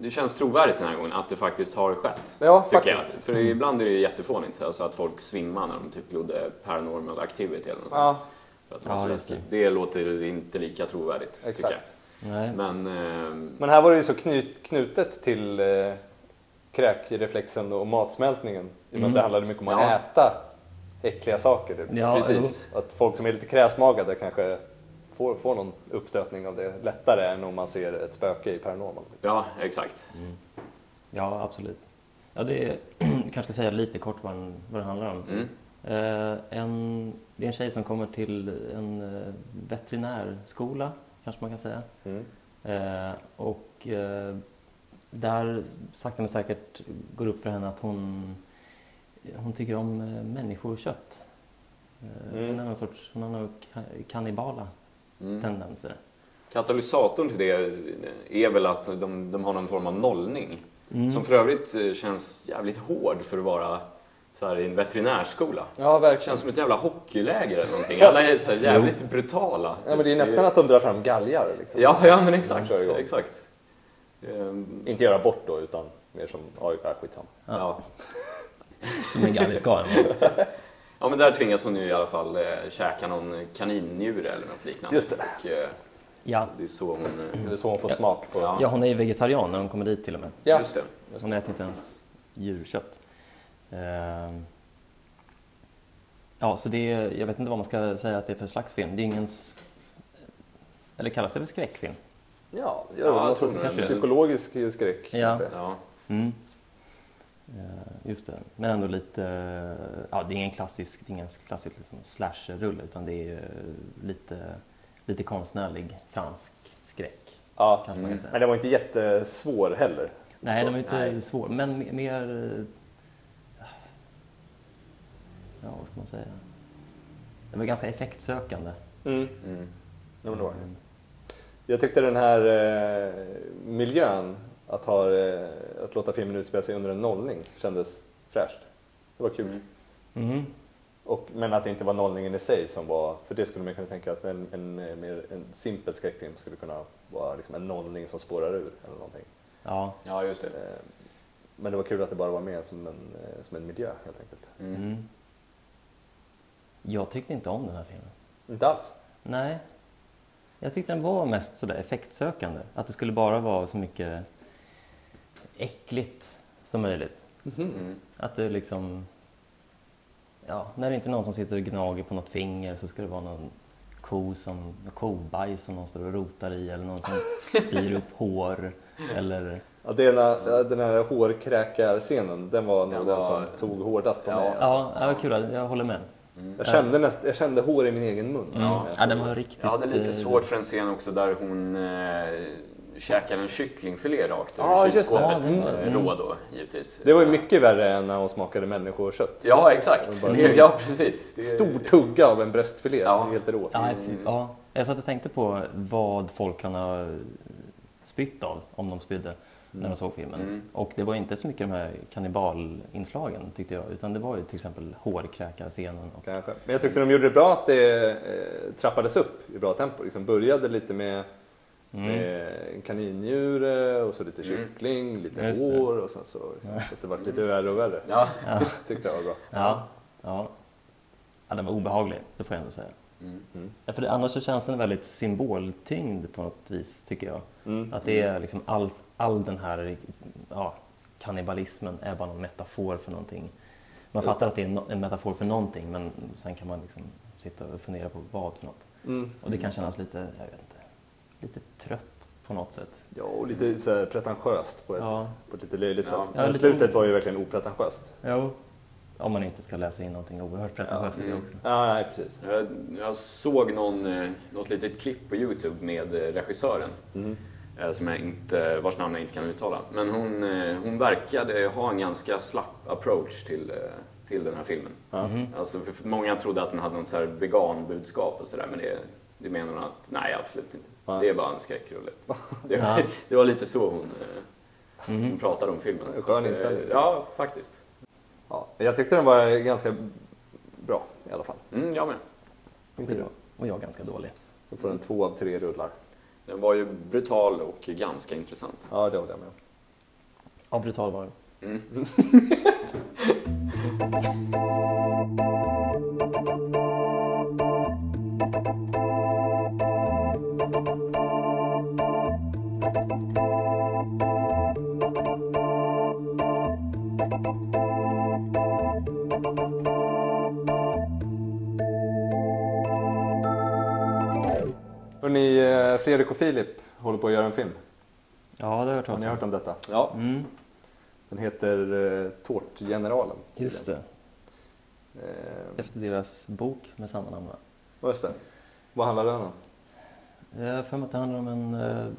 S4: Det känns trovärdigt den här gången att det faktiskt har skett.
S3: Ja,
S4: tycker
S3: faktiskt.
S4: Jag. För ibland är det ju jättefånigt. Alltså att folk svimmar när de typ glodde paranormal activity eller något sånt.
S3: Ja,
S4: För att det var
S2: Ja,
S4: så
S2: just
S4: läskigt. Det låter inte lika trovärdigt, tycker
S3: Exakt.
S4: jag.
S2: Nej.
S4: Men... ehm,
S3: men här var det ju så knut, knutet till eh, kräkreflexen och matsmältningen. I och med att det handlade mycket om att
S4: Mm. Ja.
S3: äta äckliga saker. Typ.
S2: Ja,
S4: Precis.
S3: Att folk som är lite kräsmagade kanske får, får någon uppstötning av det lättare än om man ser ett spöke i Paranormal.
S4: Ja, exakt.
S2: Ja, absolut. Ja, det är, kanske ska säga lite kort vad, den- vad det handlar om.
S4: Mm.
S2: Eh, en, det är en tjej som kommer till en eh, veterinärskola, kanske man kan säga.
S3: Mm.
S2: Eh, och eh, där sakta men säkert går upp för henne att hon, hon tycker om eh, människokött. Eh,
S3: Mm.
S2: Hon är någon sorts, hon har några ka- kannibala tendenser.
S4: Mm. Katalysatorn till det är väl att de, de har någon form av nollning.
S3: Mm.
S4: Som för övrigt eh, känns jävligt hård för att vara så här, i en veterinärskola.
S3: Ja,
S4: Det
S3: verkligen.
S4: känns som ett jävla hockeyläger eller någonting. Alla är så här jävligt brutala.
S3: Ja, men Alltså, det är nästan att Mm. de drar fram galgar. Liksom.
S4: Ja, ja men exakt.
S3: Kör igång.
S4: exakt. Ehm,
S3: Inte göra bort då, utan mer som... Ja, ja, skitsamma.
S4: ja.
S2: Som en galge ska vara.
S4: ja, men där tvingas hon ju i alla fall eh, käka någon kaninnjure eller något liknande.
S3: Just det.
S4: Och, eh,
S2: Ja.
S4: det är så hon...
S3: Det
S4: eh,
S3: är så hon får smak på...
S4: Ja.
S2: ja, hon är ju vegetarian när hon kommer dit till och med. Alltså,
S3: Ja.
S4: Just det.
S2: Hon äter inte ens djurkött. Ehm. Ja, så det är, jag vet inte vad man ska säga att det är för slags film. Det är ingens... Eller kallas det för skräckfilm?
S3: Ja, det
S4: Ja,
S3: gör ja,
S4: jag
S3: någon
S4: tror
S3: sorts
S4: det.
S3: psykologisk skräck.
S2: Ja.
S3: kanske.
S4: Ja.
S2: Mm. Eh, Just det, men ändå lite... eh, Ja, det är ingen klassisk, det är ingen klassisk liksom slasher-rulle utan det är ju lite, lite konstnärlig fransk skräck.
S3: Ja.
S2: Kanske man kan säga.
S3: Men den var inte jättesvår heller.
S2: Nej, den var inte
S4: nej.
S2: svår, men me- mer... eh, Ja, vad ska man säga? Den var ganska effektsökande.
S3: Mm.
S4: Mm.
S3: Ja, men det var det. Jag tyckte den här eh, miljön, att, ha, eh, att låta filmen utspela sig under en nollning, kändes fräscht. Det var kul.
S4: Mm.
S2: Mhm.
S3: Och, men att det inte var nollningen i sig som var, för det skulle man kunna tänka sig, en, en, eh, mer, en simpel skräckfilm skulle kunna vara liksom en nollning som spårar ur eller någonting.
S2: Ja.
S4: Ja, just det.
S3: Eh, Men det var kul att det bara var med som en, eh, som en miljö helt enkelt.
S4: Mm.
S2: Mm. Jag tyckte inte om den här filmen.
S3: Inte alls.
S2: Nej. Jag tyckte den var mest sådär effektsökande. Att det skulle bara vara så mycket äckligt som möjligt.
S4: Mm.
S2: Att det liksom... Ja, när det inte är någon som sitter och gnager på något finger så ska det vara någon ko som, kobajs som någon står och rotar i eller någon som spyr upp hår eller...
S3: Ja, den, här, den här hårkräkarscenen, den var nog
S4: Mm. Den
S3: den
S4: var-
S3: som tog hårdast på
S4: Ja.
S3: mig.
S2: Ja, ja vad kul. Jag håller med.
S3: Jag, kände näst, jag kände hår i min egen mun.
S2: Mm. Ja, den var riktigt...
S4: Jag hade
S2: eh,
S4: lite svårt för en scen också där hon eh, käkar en kycklingfilé rakt ur
S3: Ja, just det.
S4: kylskåpet.
S2: Ja,
S4: Eh,
S2: mm.
S4: Rå då, givetvis.
S3: Det var ju mycket värre än när hon smakade människokött.
S4: Ja, exakt.
S3: Bara-
S4: Det, ja, precis. Det,
S3: Stor tugga av en bröstfilé,
S4: Ja.
S3: helt rå.
S2: Ja, fy- ja. Jag satt och tänkte på vad folk kan ha eh, spytt av, om de spydde, när de såg filmen.
S4: Mm.
S2: Och det var ju inte så mycket de här kannibalinslagen tyckte jag, utan det var ju till exempel hårkräkarscenen. Och...
S3: Kanske. Men jag tyckte de gjorde det bra att det eh, trappades upp i bra tempo. Liksom började lite med
S2: Mm.
S3: eh, kaninjure och så lite kyckling, lite
S2: Just det.
S3: hår och sen så, liksom så att det vart lite värre och värre.
S4: Ja.
S3: Tyckte jag var bra.
S2: Ja, ja. ja, den var obehaglig, det får jag ändå säga. Mm. Ja, för det, annars så känns den väldigt symboltyngd på något vis, tycker jag. Att det är liksom all, all den här ja, kannibalismen är bara en metafor för någonting. Man fattar att det är no- en metafor för någonting, men sen kan man liksom sitta och fundera på vad för något. Och det kan kännas lite, jag vet inte, lite trött på något sätt.
S3: Ja, och lite så här pretentiöst på ett,
S2: Ja.
S3: på ett lite löjligt
S4: Ja.
S3: sätt.
S2: Ja,
S3: Men
S2: lite-
S3: slutet var ju verkligen opretentiöst.
S2: Jo. Om man inte ska läsa in någonting oerhört pretentiöst i det också.
S3: Ja, nej, precis.
S4: Jag, jag såg någon, eh, något litet klipp på Youtube med eh, regissören.
S3: Mm.
S4: eh, Som jag inte, vars namn jag inte kan uttala. Men hon, eh, hon verkade ha en ganska slapp approach till, eh, till den här filmen. Alltså, för- för många trodde att den hade något så här veganbudskap och sådär. Men det, det menar hon att, nej absolut inte.
S3: Nej.
S4: Det är bara en skräckrulle. Det, var- det var lite så hon, eh, hon pratade om filmen.
S3: Mhm. Skön
S4: Så att, eh,
S3: inställning.
S4: Ja, faktiskt.
S3: Ja, jag tyckte den var ganska bra i alla fall.
S4: Mm, jag med.
S2: Och jag, och jag ganska dålig.
S3: Då får den två av tre rullar.
S4: Den var ju brutal och ganska intressant.
S3: Ja, det håller jag med om.
S2: Ja, brutal var den.
S3: Hörrni, eh, Fredrik och Filip håller på att göra en film.
S2: Ja, det har jag hört
S3: Har
S2: talas
S3: ni
S2: om.
S3: hört om detta?
S4: Ja.
S2: Mm,
S3: Den heter eh, Tårtgeneralen.
S2: just det.
S3: Eh,
S2: Efter deras bok med samma namn va?
S3: ja, just det. Vad handlar den om?
S2: Jag har för mig att det handlar om en... eh,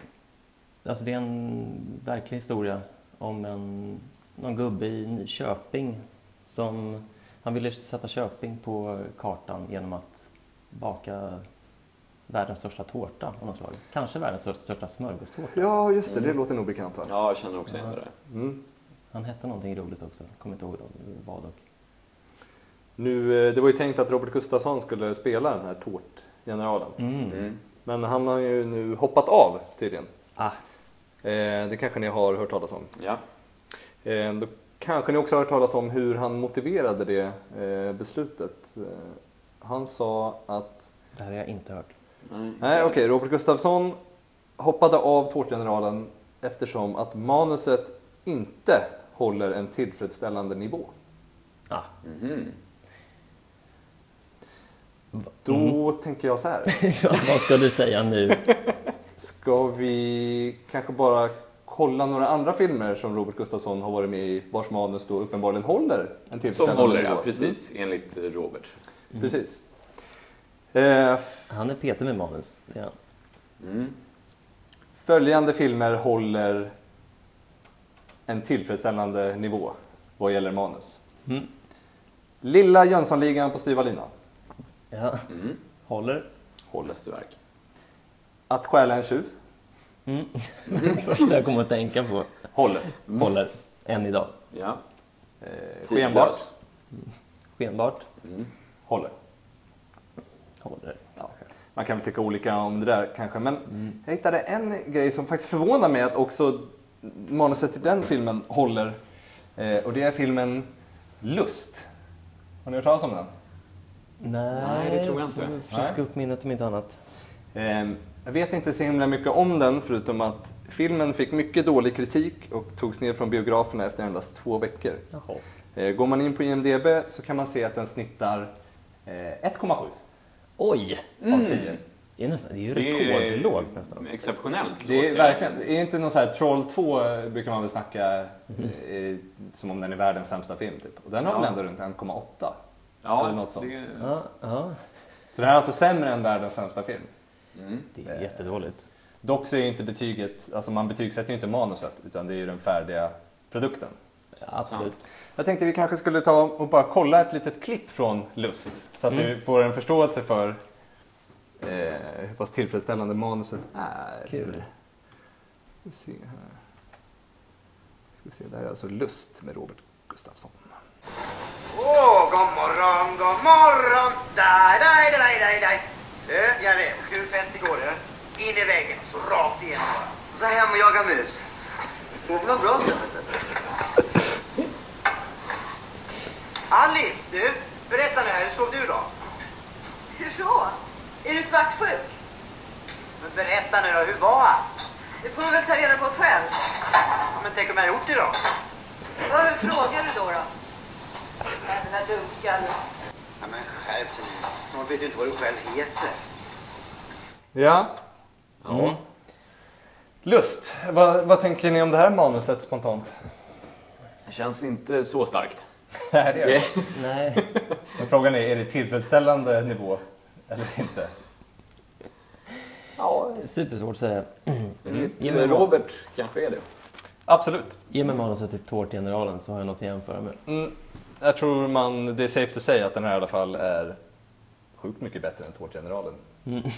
S2: Alltså det är en verklig historia om en, någon gubbe i Köping som... Han ville sätta Köping på kartan genom att baka världens största tårta av något slag. Kanske världens stör- största smörgåstårta.
S3: Ja, just det. Det låter nog bekant va?
S4: Ja, jag känner också igen det där.
S3: Mm.
S2: Han hette någonting roligt också, kommer inte ihåg vad dock.
S3: Nu, eh, det var ju tänkt att Robert Gustafsson skulle spela den här Tårtgeneralen.
S2: Mm.
S3: Men han har ju nu hoppat av tydligen.
S2: Ah,
S3: Eh, det kanske ni har hört talas om.
S4: Ja.
S3: Eh, då kanske ni också har hört talas om hur han motiverade det eh, beslutet. Eh, han sa att
S2: det här har jag inte hört.
S4: Nej,
S3: Nej, okej. Robert Gustafsson hoppade av Tårtgeneralen eftersom att manuset inte håller en tillfredsställande nivå.
S2: Ah,
S4: Mhm.
S3: Då
S4: Mm.
S3: tänker jag så här.
S2: vad ska du säga nu?
S3: Ska vi kanske bara kolla några andra filmer som Robert Gustafsson har varit med i vars manus då uppenbarligen håller en
S4: Som
S3: tillfredsställande
S4: håller,
S3: nivå?
S4: ja precis. Enligt eh, Robert.
S3: Mm. Precis. Eh, f-
S2: Han är petig med manus. det är han.
S4: Mm.
S3: följande filmer håller en tillfredsställande nivå vad gäller manus.
S2: Mm.
S3: Lilla Jönssonligan på styva linan.
S2: Ja.
S4: Mm.
S2: Håller.
S4: Mästerverk.
S3: Att stjäla en tjuv.
S2: Första jag kommer att tänka på.
S3: Håller.
S4: Mm.
S2: Håller. Än idag.
S4: Ja.
S3: Eh,
S4: Tidlös.
S3: skenbart.
S2: skenbart.
S3: Håller.
S2: Håller. Ja.
S3: Man kan väl tycka olika om det där kanske, men jag hittade en grej som faktiskt förvånar mig att också manuset till den filmen håller. Eh, och det är filmen Lust. Har ni hört talas om den?
S2: Nej,
S4: Nej, det tror jag inte.
S2: får Friska upp minnet om inte annat.
S3: Eh, Jag vet inte så himla mycket om den förutom att filmen fick mycket dålig kritik och togs ner från biograferna efter endast två veckor.
S2: Jaha.
S3: Eh, Går man in på IMDB så kan man se att den snittar eh, 1,7
S2: Oj!
S4: Mm.
S3: av 10.
S2: Det är, nästan, det är ju
S4: Det är- Mm.
S2: rekordlågt nästan.
S4: Exceptionellt
S3: Det är
S4: lågt,
S3: verkligen, det är inte någon så här Troll 2 eh, brukar man väl snacka eh, som om den är världens sämsta film typ. Och den har
S4: Ja.
S3: väl ändå runt 1,8.
S4: Ja,
S3: Eller något sånt. Mm.
S4: det-
S2: Ja, ja.
S3: Så den här är alltså sämre än världens sämsta film.
S2: Det
S4: Eh,
S2: är jättedåligt.
S3: Dock så är ju inte betyget, alltså man betygsätter ju inte manuset utan det är ju den färdiga produkten.
S2: Absolut.
S3: Jag tänkte vi kanske skulle ta och bara kolla ett litet klipp från Lust så att du får en förståelse för eh, hur pass tillfredsställande manuset är.
S2: Kul.
S4: Mm.
S3: Ska vi se här. Ska vi se, det här är alltså Lust med Robert Gustafsson.
S5: Åh, god morgon, god morgon! Daj, daj, daj, daj, daj. Du, jag rev. Skruvfest igår, du. In i väggen, så rakt igenom bara. Så hem och jaga mus. Sover väl bra sen, vet du. Alice, du. Berätta nu här, hur sov du då?
S6: Hur så? Är du svartsjuk?
S5: Men berätta nu då, hur var han?
S6: Det får du väl ta reda på själv.
S5: Ja, Men tänk om jag har gjort det då?
S6: Och hur frågar du då? då? Nej, Den där dumskallen.
S5: Ja, men skärp dig nu. Snart vet du inte vad du själv heter.
S3: Ja,
S4: Ja.
S3: Lust. Vad, vad tänker ni om det här manuset spontant?
S4: Det känns inte så starkt.
S3: Nej, det gör det.
S2: Nej.
S3: Men frågan är, är det tillfredsställande nivå eller inte?
S2: Supersvårt att säga.
S4: Mm. Ge mig Robert kanske är det.
S3: Absolut.
S2: Ge mig manuset till Tårtgeneralen så har jag något att jämföra med.
S3: Mm, jag tror man, det är safe to say att den här i alla fall är sjukt mycket bättre än Tårtgeneralen.
S4: Mm.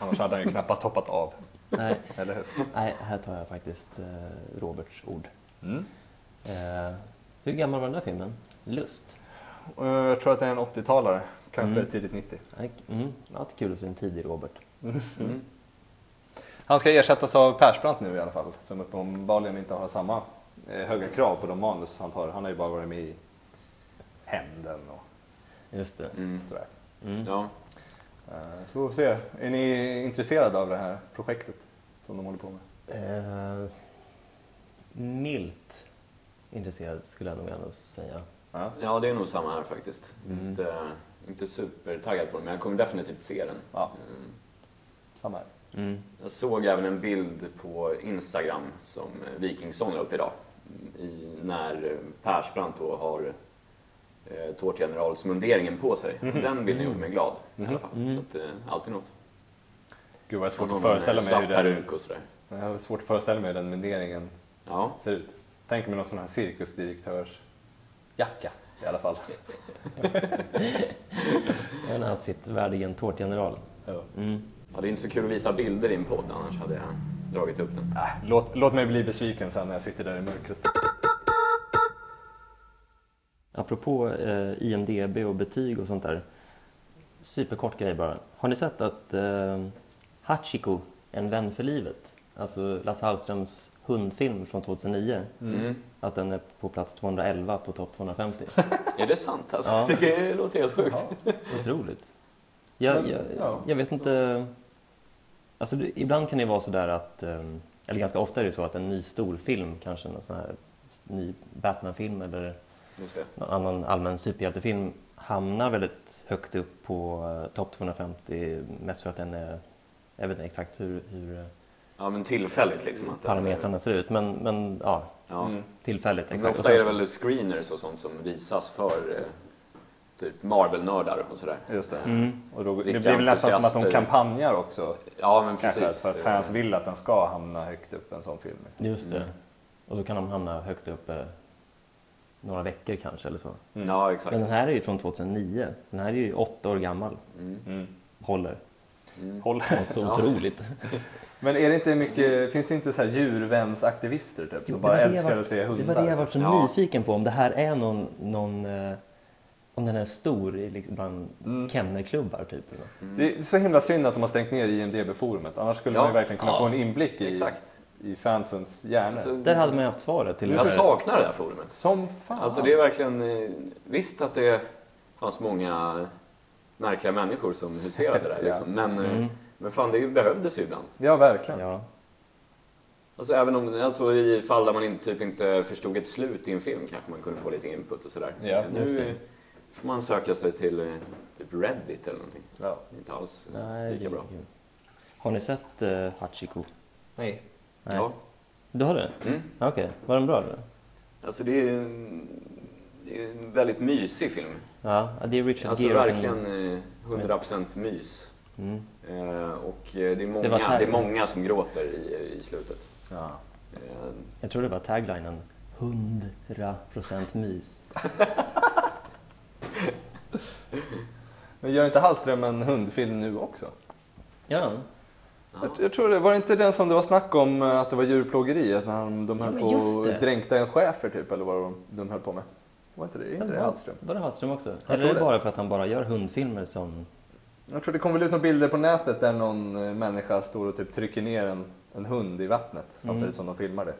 S3: Annars hade han ju knappast hoppat av,
S2: Nej,
S3: eller hur?
S2: nej här tar jag faktiskt eh, Roberts ord.
S3: Mm.
S2: Eh, hur gammal var den där filmen? Lust?
S3: Och Jag tror att det är en 80-talare, kanske tidigt 90.
S2: Nej, Mm, alltid kul att se en tidig Robert.
S3: Han ska ersättas av Persbrandt nu i alla fall, som uppenbarligen inte har samma eh, höga krav på de manus han tar. Han har ju bara varit med i Hämnden och
S2: Just det.
S4: Mm.
S3: sådär.
S4: Ja.
S3: Eh, Så får vi se. Är ni intresserade av det här projektet som de håller på med?
S2: Eh, milt intresserad skulle jag nog ändå säga.
S3: Ja.
S4: ja, det är nog samma här faktiskt.
S3: Mm.
S4: Inte, inte supertaggad på den, men jag kommer definitivt se den.
S3: Ja.
S4: Mm.
S3: Samma här.
S4: Jag såg även en bild på Instagram som Wikingsson la upp idag. I, när Persbrandt då har eh, tårtgeneralsmunderingen på sig.
S3: Mm.
S4: Den bilden gjorde mig glad i alla fall. Så att, eh, alltid något.
S3: Gud vad
S4: Och
S3: Mm. svårt
S4: någon
S3: att föreställa mig hur
S4: slapp
S3: den,
S4: peruk och sådär.
S3: jag har svårt att föreställa mig hur den munderingen
S4: Ja.
S3: ser ut. Tänk mig någon sån här cirkusdirektörs jacka i alla fall.
S2: En outfit värdig en tårtgeneral.
S4: ja, det är inte så kul att visa bilder i en podd annars hade jag dragit upp den.
S3: Äh, låt, låt mig bli besviken sen när jag sitter där i mörkret.
S2: Apropå eh, IMDB och betyg och sånt där. Superkort grej bara. Har ni sett att eh, Hachiko, En vän för livet, alltså Lasse Hallströms hundfilm från 2009, att den är på plats 211 på topp 250?
S4: Är det sant alltså? Det låter helt sjukt.
S2: Otroligt. Jag, jag,
S3: ja.
S2: jag vet inte... Alltså, det, ibland kan det vara sådär att... eh, Eller ganska ofta är det så att en ny stor film, kanske en sån här ny Batman-film eller
S4: Just det.
S2: någon annan allmän superhjältefilm hamnar väldigt högt upp på uh, topp 250 mest för att den är... Jag vet inte exakt hur, hur eh,
S4: Ja, men tillfälligt liksom. Att det-
S2: parametrarna ser ut, men, men ja,
S4: Ja.
S2: tillfälligt.
S4: Men
S2: Mm, Exakt. Och
S4: ofta är det
S2: sen så-
S4: väl screeners och sånt som visas för eh, typ Marvel-nördar och sådär.
S3: Just det.
S2: Mm.
S3: Och då, det
S4: Riktiga
S3: blir väl nästan som att de
S4: entusiaster.
S3: kampanjar också.
S4: Ja, men
S3: Kanske
S4: precis.
S3: för att fans vill att den ska hamna högt upp en sån film.
S2: Just
S4: Mm.
S2: det. Och då kan de hamna högt upp eh, några veckor kanske eller så.
S4: Ja, exakt.
S2: Men den här är ju från 2009. Den här är ju åtta år gammal.
S4: Mm.
S2: Håller.
S3: Håller.
S2: Så otroligt.
S3: Men är det inte mycket, finns det inte så här djurvänsaktivister typ, som bara
S2: Det var det jag
S3: älskar
S2: var-
S3: att se hundar?
S2: Det var det jag var så
S4: Ja.
S2: nyfiken på, om det här är någon, någon eh, om den är stor i liksom bland kennelklubbar typ. eller något.
S3: Det är så himla synd att de har stängt ner IMDB-forumet. Annars skulle
S4: Ja.
S3: man ju verkligen kunna
S2: Ja.
S3: få en inblick i,
S4: Exakt.
S3: i fansens hjärnor.
S4: Alltså,
S2: Där hade man ju haft svaret till
S4: jag saknar det här forumet.
S3: Som fan.
S4: Alltså det är verkligen... eh, Visst att det fanns många märkliga människor som huserade där liksom. Men, eh,
S2: Mm.
S4: men fan, det behövdes ju ibland.
S3: Ja, verkligen.
S2: Ja.
S4: Alltså även om, alltså i fall där man inte, typ inte förstod ett slut i en film kanske man kunde få lite input och sådär.
S3: Ja,
S4: nu
S2: just det.
S4: eh, får man söka sig till eh, typ Reddit eller någonting.
S3: Ja.
S4: Det är Inte alls eh,
S2: Nej,
S4: lika
S2: det-
S4: bra.
S2: Har ni sett eh, Hachiko?
S7: Nej.
S2: Nej.
S4: Ja.
S2: Du har det?
S4: Mm.
S2: Okej, var den bra eller?
S4: Alltså det är, en, det är en väldigt mysig film.
S2: Ja, det är Richard
S4: Alltså
S2: Gere. och den-
S4: verkligen eh, 100% mys.
S2: Mm.
S4: Eh, Och eh, det är, många,
S2: var
S4: det,
S2: terror.
S4: är många som gråter i, i slutet.
S3: Ja.
S4: Eh,
S2: Jag tror det var taglinen. 100% mys.
S3: Men gör inte Hallström en hundfilm nu också?
S2: Ja,
S3: Jag, jag tror det. Var det inte den som det var snack om eh, att det var djurplågeri? Att när de, de
S2: Ja,
S3: höll
S2: men
S3: på
S2: just
S3: och
S2: det.
S3: dränkte en schäfer typ, eller vad de, de höll på med? Var inte det, inte det
S2: var,
S3: Hallström?
S2: var det Hallström också?
S3: tror
S2: Eller är det
S3: det.
S2: bara för att han bara gör hundfilmer som...
S3: Jag tror det kom väl ut några bilder på nätet där någon eh, människa står och typ trycker ner en, en hund i vattnet samtidigt
S2: Mm.
S3: som de filmar det.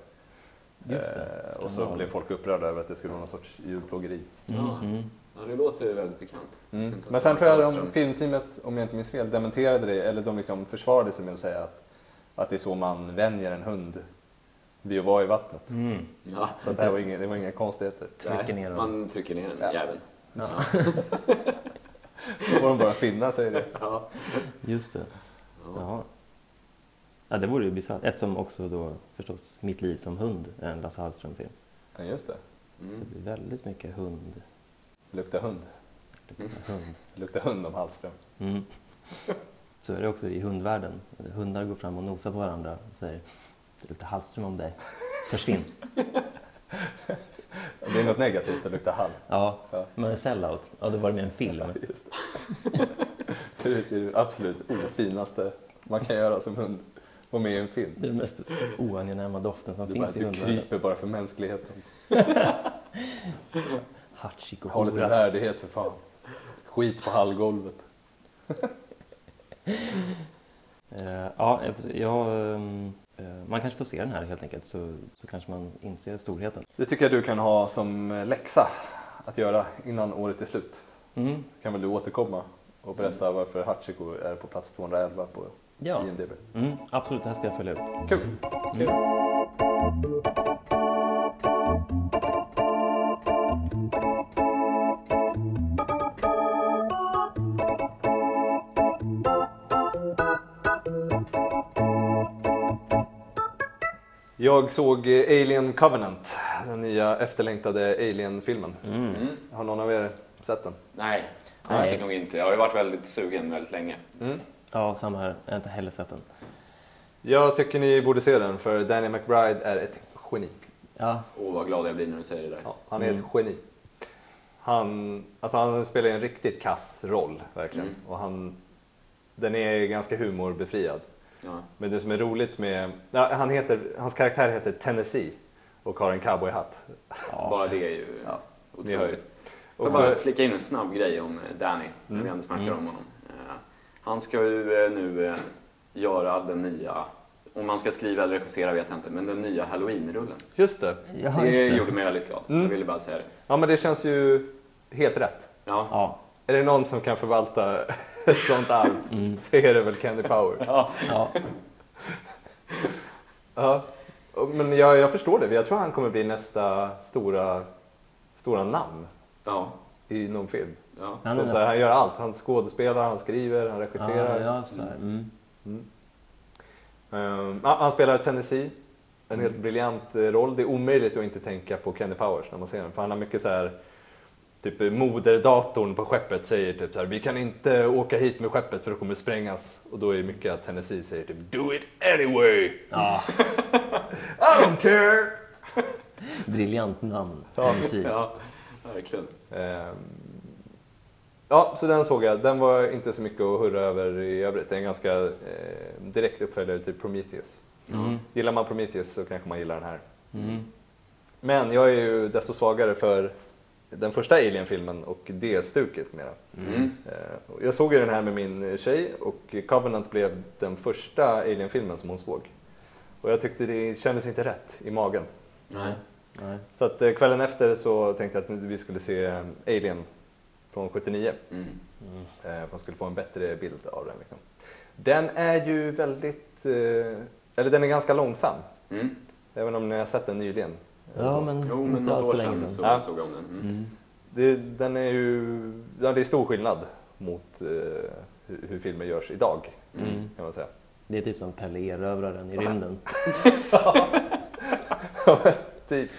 S2: Just det.
S3: Eh, och så
S2: Skandal.
S3: blev folk upprörda över att det skulle vara någon sorts djurplågeri.
S4: Ja.
S2: Mhm.
S4: Ja, det låter väldigt bekant.
S3: Mm.
S4: Synd att
S3: Men sen
S4: det
S3: tror jag
S4: var
S3: de
S4: Hallström.
S3: filmteamet, om jag inte minns fel, dementerade det. Eller de liksom försvarade sig med att säga att, att det är så man vänjer en hund vid att vara i vattnet.
S2: Mm.
S4: Ja.
S3: Så att det, här var inga, det var inga konstigheter.
S2: Trycker ner dem.
S4: Man trycker ner den jäveln.
S3: Då får de bara finna sig i det.
S2: Just det. Ja. ja, det vore ju bisarrt. Eftersom också då förstås Mitt liv som hund är en Lasse Hallström-film.
S3: Ja, just det.
S2: Så det blir väldigt mycket hund.
S3: Lukta hund.
S2: hund.
S3: Lukta hund om Hallström.
S2: Mm. Så är det också i hundvärlden. Hundar går fram och nosar på varandra och säger det luktar Hallström om dig. Försvinn.
S3: Det är något negativt att lukta hall.
S2: Ja,
S3: Ja.
S2: men en sellout. Ja, då var det med en film.
S3: Just det. det är det absolut ofinaste man kan göra som hund. Vara med i en film.
S2: Det är den mest oangenäma doften som
S3: Du, bara,
S2: finns i
S3: du
S2: hundvärlden.
S3: kryper bara för mänskligheten.
S2: Hachiko
S3: Ha lite
S2: hora.
S3: värdighet för fan. Skit på hallgolvet.
S2: Eh, Ja, jag får se. jag, ehm, eh, man kanske får se den här helt enkelt så, så kanske man inser storheten.
S3: Det tycker jag du kan ha som läxa att göra innan året är slut.
S2: Mm.
S3: Så kan väl du återkomma och berätta varför Hachiko är på plats 211 på
S2: Ja,
S3: IMDB.
S2: mm, absolut. Det här ska jag följa upp.
S3: Kul! Jag såg eh, Alien Covenant, den nya efterlängtade Alien-filmen. Har någon av er sett den?
S4: Nej, konstigt nog inte. Jag har ju varit väldigt sugen väldigt länge.
S2: Ja, samma här. Jag har inte heller sett den.
S3: Jag tycker ni borde se den för Danny McBride är ett geni.
S2: Ja,
S4: Åh, vad glad jag blir när du säger det där.
S3: Ja, han är ett geni. Mm. Han, alltså han spelar ju en riktigt kass roll verkligen. Och han, den är ju ganska humorbefriad.
S4: Ja.
S3: Men det som är roligt med... Ja, han heter, hans karaktär heter Tennessee och har en cowboyhatt.
S4: Bara det är ju
S3: Ja, ni hör ju.
S4: otroligt. Får
S3: Och
S4: jag bara
S3: så,
S4: flika in en snabb grej om eh, Danny, när vi ändå snackar om honom. Eh, Han ska ju eh, nu eh, göra den nya, om man ska skriva eller regissera vet jag inte, men den nya Halloween-rullen.
S3: just det.
S2: ja
S4: det,
S2: just det.
S4: gjorde mig väldigt glad. Jag ville bara säga det.
S3: Ja, men det känns ju helt rätt.
S4: Ja.
S2: Ja,
S3: Är det någon som kan förvalta ett sånt arv så är det väl Candy Power. Mm. Ja.
S2: ja.
S3: Och- Men jag, jag förstår det. Jag tror han kommer bli nästa stora, stora namn
S4: Ja.
S3: i någon film.
S4: ja.
S2: Han
S3: Så
S2: är
S3: att
S2: nästan...
S3: så här, han gör allt. Han skådespelar, han skriver, han
S2: Ja,
S3: regisserar.
S2: ja, sådär. Mm.
S3: Ehm, ja, han spelar Tennessee. En helt briljant eh, roll. Det är omöjligt att inte tänka på Kenny Powers när man ser honom. För han har mycket så här, typ moderdatorn på skeppet säger typ så här, vi kan inte åka hit med skeppet för det kommer sprängas. Och då är det mycket att Tennessee säger typ, do it anyway!
S2: Ja,
S3: I don't care!
S2: briljant namn.
S3: Ja,
S2: Tennessee.
S4: Ja, verkligen.
S3: Ehm, Ja, så den såg jag. Den var inte så mycket att hurra över i övrigt. Det är en ganska eh, direkt uppföljare till Prometheus. Gillar man Prometheus så kanske man gillar den här. Men jag är ju desto svagare för den första Alien-filmen och D-stuket mera.
S4: Mm.
S3: Eh, och Jag såg ju den här med min tjej och Covenant blev den första Alien-filmen som hon såg. Och jag tyckte det kändes inte rätt i magen.
S4: Nej.
S2: Nej.
S3: Så att eh, kvällen efter så tänkte jag att nu- vi skulle se eh, Alien från 79.
S4: Mm.
S3: eh, För att man skulle få en bättre bild av den. Liksom. Den är ju väldigt, eh, eller den är ganska långsam.
S4: Mm.
S3: Även om ni har sett den nyligen.
S2: Ja, men
S4: Jo, men
S2: inte
S4: något
S2: allt
S4: år
S2: för länge
S4: sedan
S2: sedan.
S4: så
S3: Ja.
S4: såg jag om den. Mm.
S3: Det, den är ju, ja, det är stor skillnad mot eh, hur, hur filmer görs idag. Kan man säga.
S2: Det är typ som Pelle Erövraren i rymden.
S3: typ,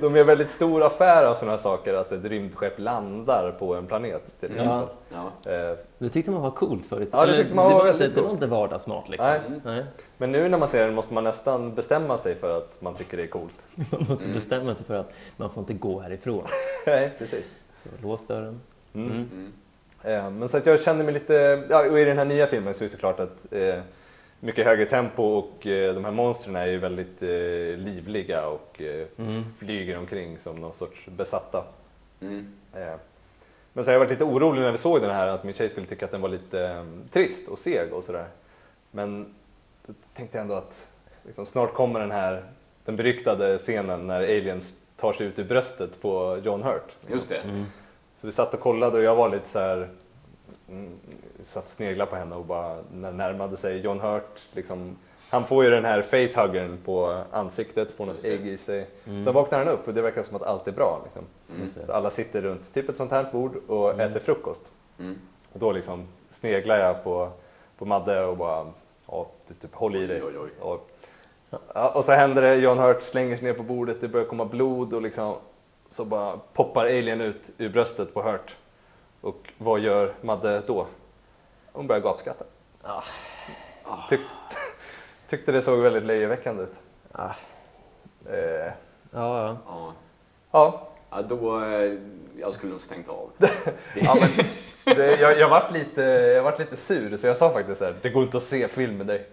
S3: de gör väldigt stor affär av sådana här saker, att ett rymdskepp landar på en planet till exempel.
S2: Ja.
S4: Ja.
S3: Eh,
S2: Det tyckte man var coolt förut.
S3: Ja, det
S2: Eller,
S3: tyckte man var
S2: det, var
S3: väldigt
S2: inte, det var
S3: coolt.
S2: inte vardagsmat liksom.
S3: Nej. Men nu när man ser den måste man nästan bestämma sig för att man tycker det är coolt.
S2: Man måste bestämma sig för att man får inte gå härifrån.
S3: Nej, precis.
S2: Så lås dörren.
S3: Eh, Men så att jag kände mig lite, ja, och i den här nya filmen så är det såklart att eh, mycket högre tempo och eh, de här monstren är ju väldigt eh, livliga och eh, flyger omkring som någon sorts besatta.
S4: Mm.
S3: Eh, men så har jag varit lite orolig när vi såg den här att min tjej skulle tycka att den var lite eh, trist och seg och sådär. Men då tänkte jag ändå att liksom, snart kommer den här, den beryktade scenen när aliens tar sig ut ur bröstet på John Hurt.
S4: Just det.
S3: Så vi satt och kollade och jag var lite så här mm, satt och sneglade på henne och bara när närmade sig John Hurt. Liksom, han får ju den här facehuggern på ansiktet, får något
S4: Just det. Mm.
S3: ägg i sig. Sen vaknar han upp och det verkar som att allt är bra. Liksom. Så alla sitter runt typ ett sånt här bord och äter frukost.
S4: Mm.
S3: Och då liksom sneglar jag på, på Madde och bara ja, du, typ, håll i dig.
S4: oj, oj.
S3: Och, ja, och så händer det, John Hurt slänger sig ner på bordet, det börjar komma blod och liksom så bara poppar alien ut ur bröstet på Hurt. Och vad gör Madde då? Hon börjar gapskratta.
S4: Ah.
S3: Tyck, tyckte det såg väldigt löjeväckande ut.
S2: Ah.
S3: Eh,
S2: Ja, ja.
S4: Ja.
S3: ja,
S4: Ja, då... eh, Jag skulle nog stängt av.
S3: ja men, det, jag, jag, vart lite, jag vart lite sur så jag sa faktiskt så här, det går inte att se film med dig.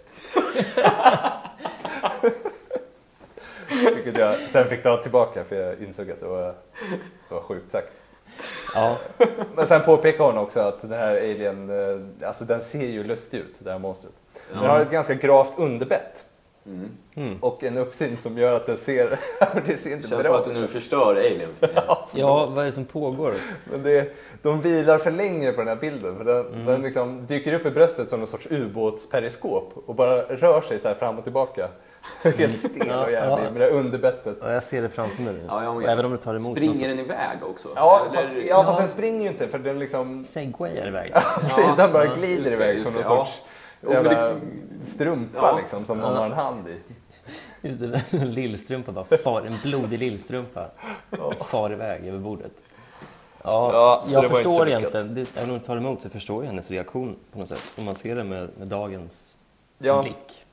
S3: Vilket jag sen fick ta tillbaka för jag insåg att det var, det var sjukt sagt.
S2: ja.
S3: Men sen påpekar hon också att den här alien, eh, alltså den ser ju lustig ut, det här monstret. Den har ett ganska gravt underbett.
S4: Mm.
S3: Och en uppsyn som gör att den ser, det ser
S4: Det
S3: inte
S4: känns som
S3: bra
S4: att
S3: ut.
S4: du nu förstör Alien för mig.
S2: ja, vad är det som pågår?
S3: Men det, de vilar för länge på den här bilden. För den,
S2: Mm.
S3: den liksom dyker upp i bröstet som någon sorts ubåtsperiskop och bara rör sig så här fram och tillbaka. Helt stel och jävlig
S2: Mm. Ja.
S3: med det här underbettet.
S2: Ja, jag ser det framför mig nu.
S4: Ja, jag med.
S2: Och även om det tar emot. någon
S4: Springer
S2: sorts-
S4: den iväg också?
S3: Ja,
S4: Eller-
S3: fast, ja, fast den springer ju inte för den liksom...
S2: Segwayar iväg.
S3: Precis, den bara glider
S4: just det,
S3: iväg
S4: just
S3: som
S4: det,
S3: någon
S4: ja.
S3: sorts
S4: men det-
S3: jävla strumpa
S4: Ja.
S3: liksom som någon har en hand i.
S2: Just det, en lillstrumpa bara far. En blodig lillstrumpa far iväg över bordet. Ja,
S3: Ja, så det
S2: jag
S3: var inte så
S2: förstår
S3: lyckat.
S2: egentligen. Det, även om det tar emot så förstår jag hennes reaktion på något sätt. Om man ser det med, med dagens
S3: Ja.
S2: blick.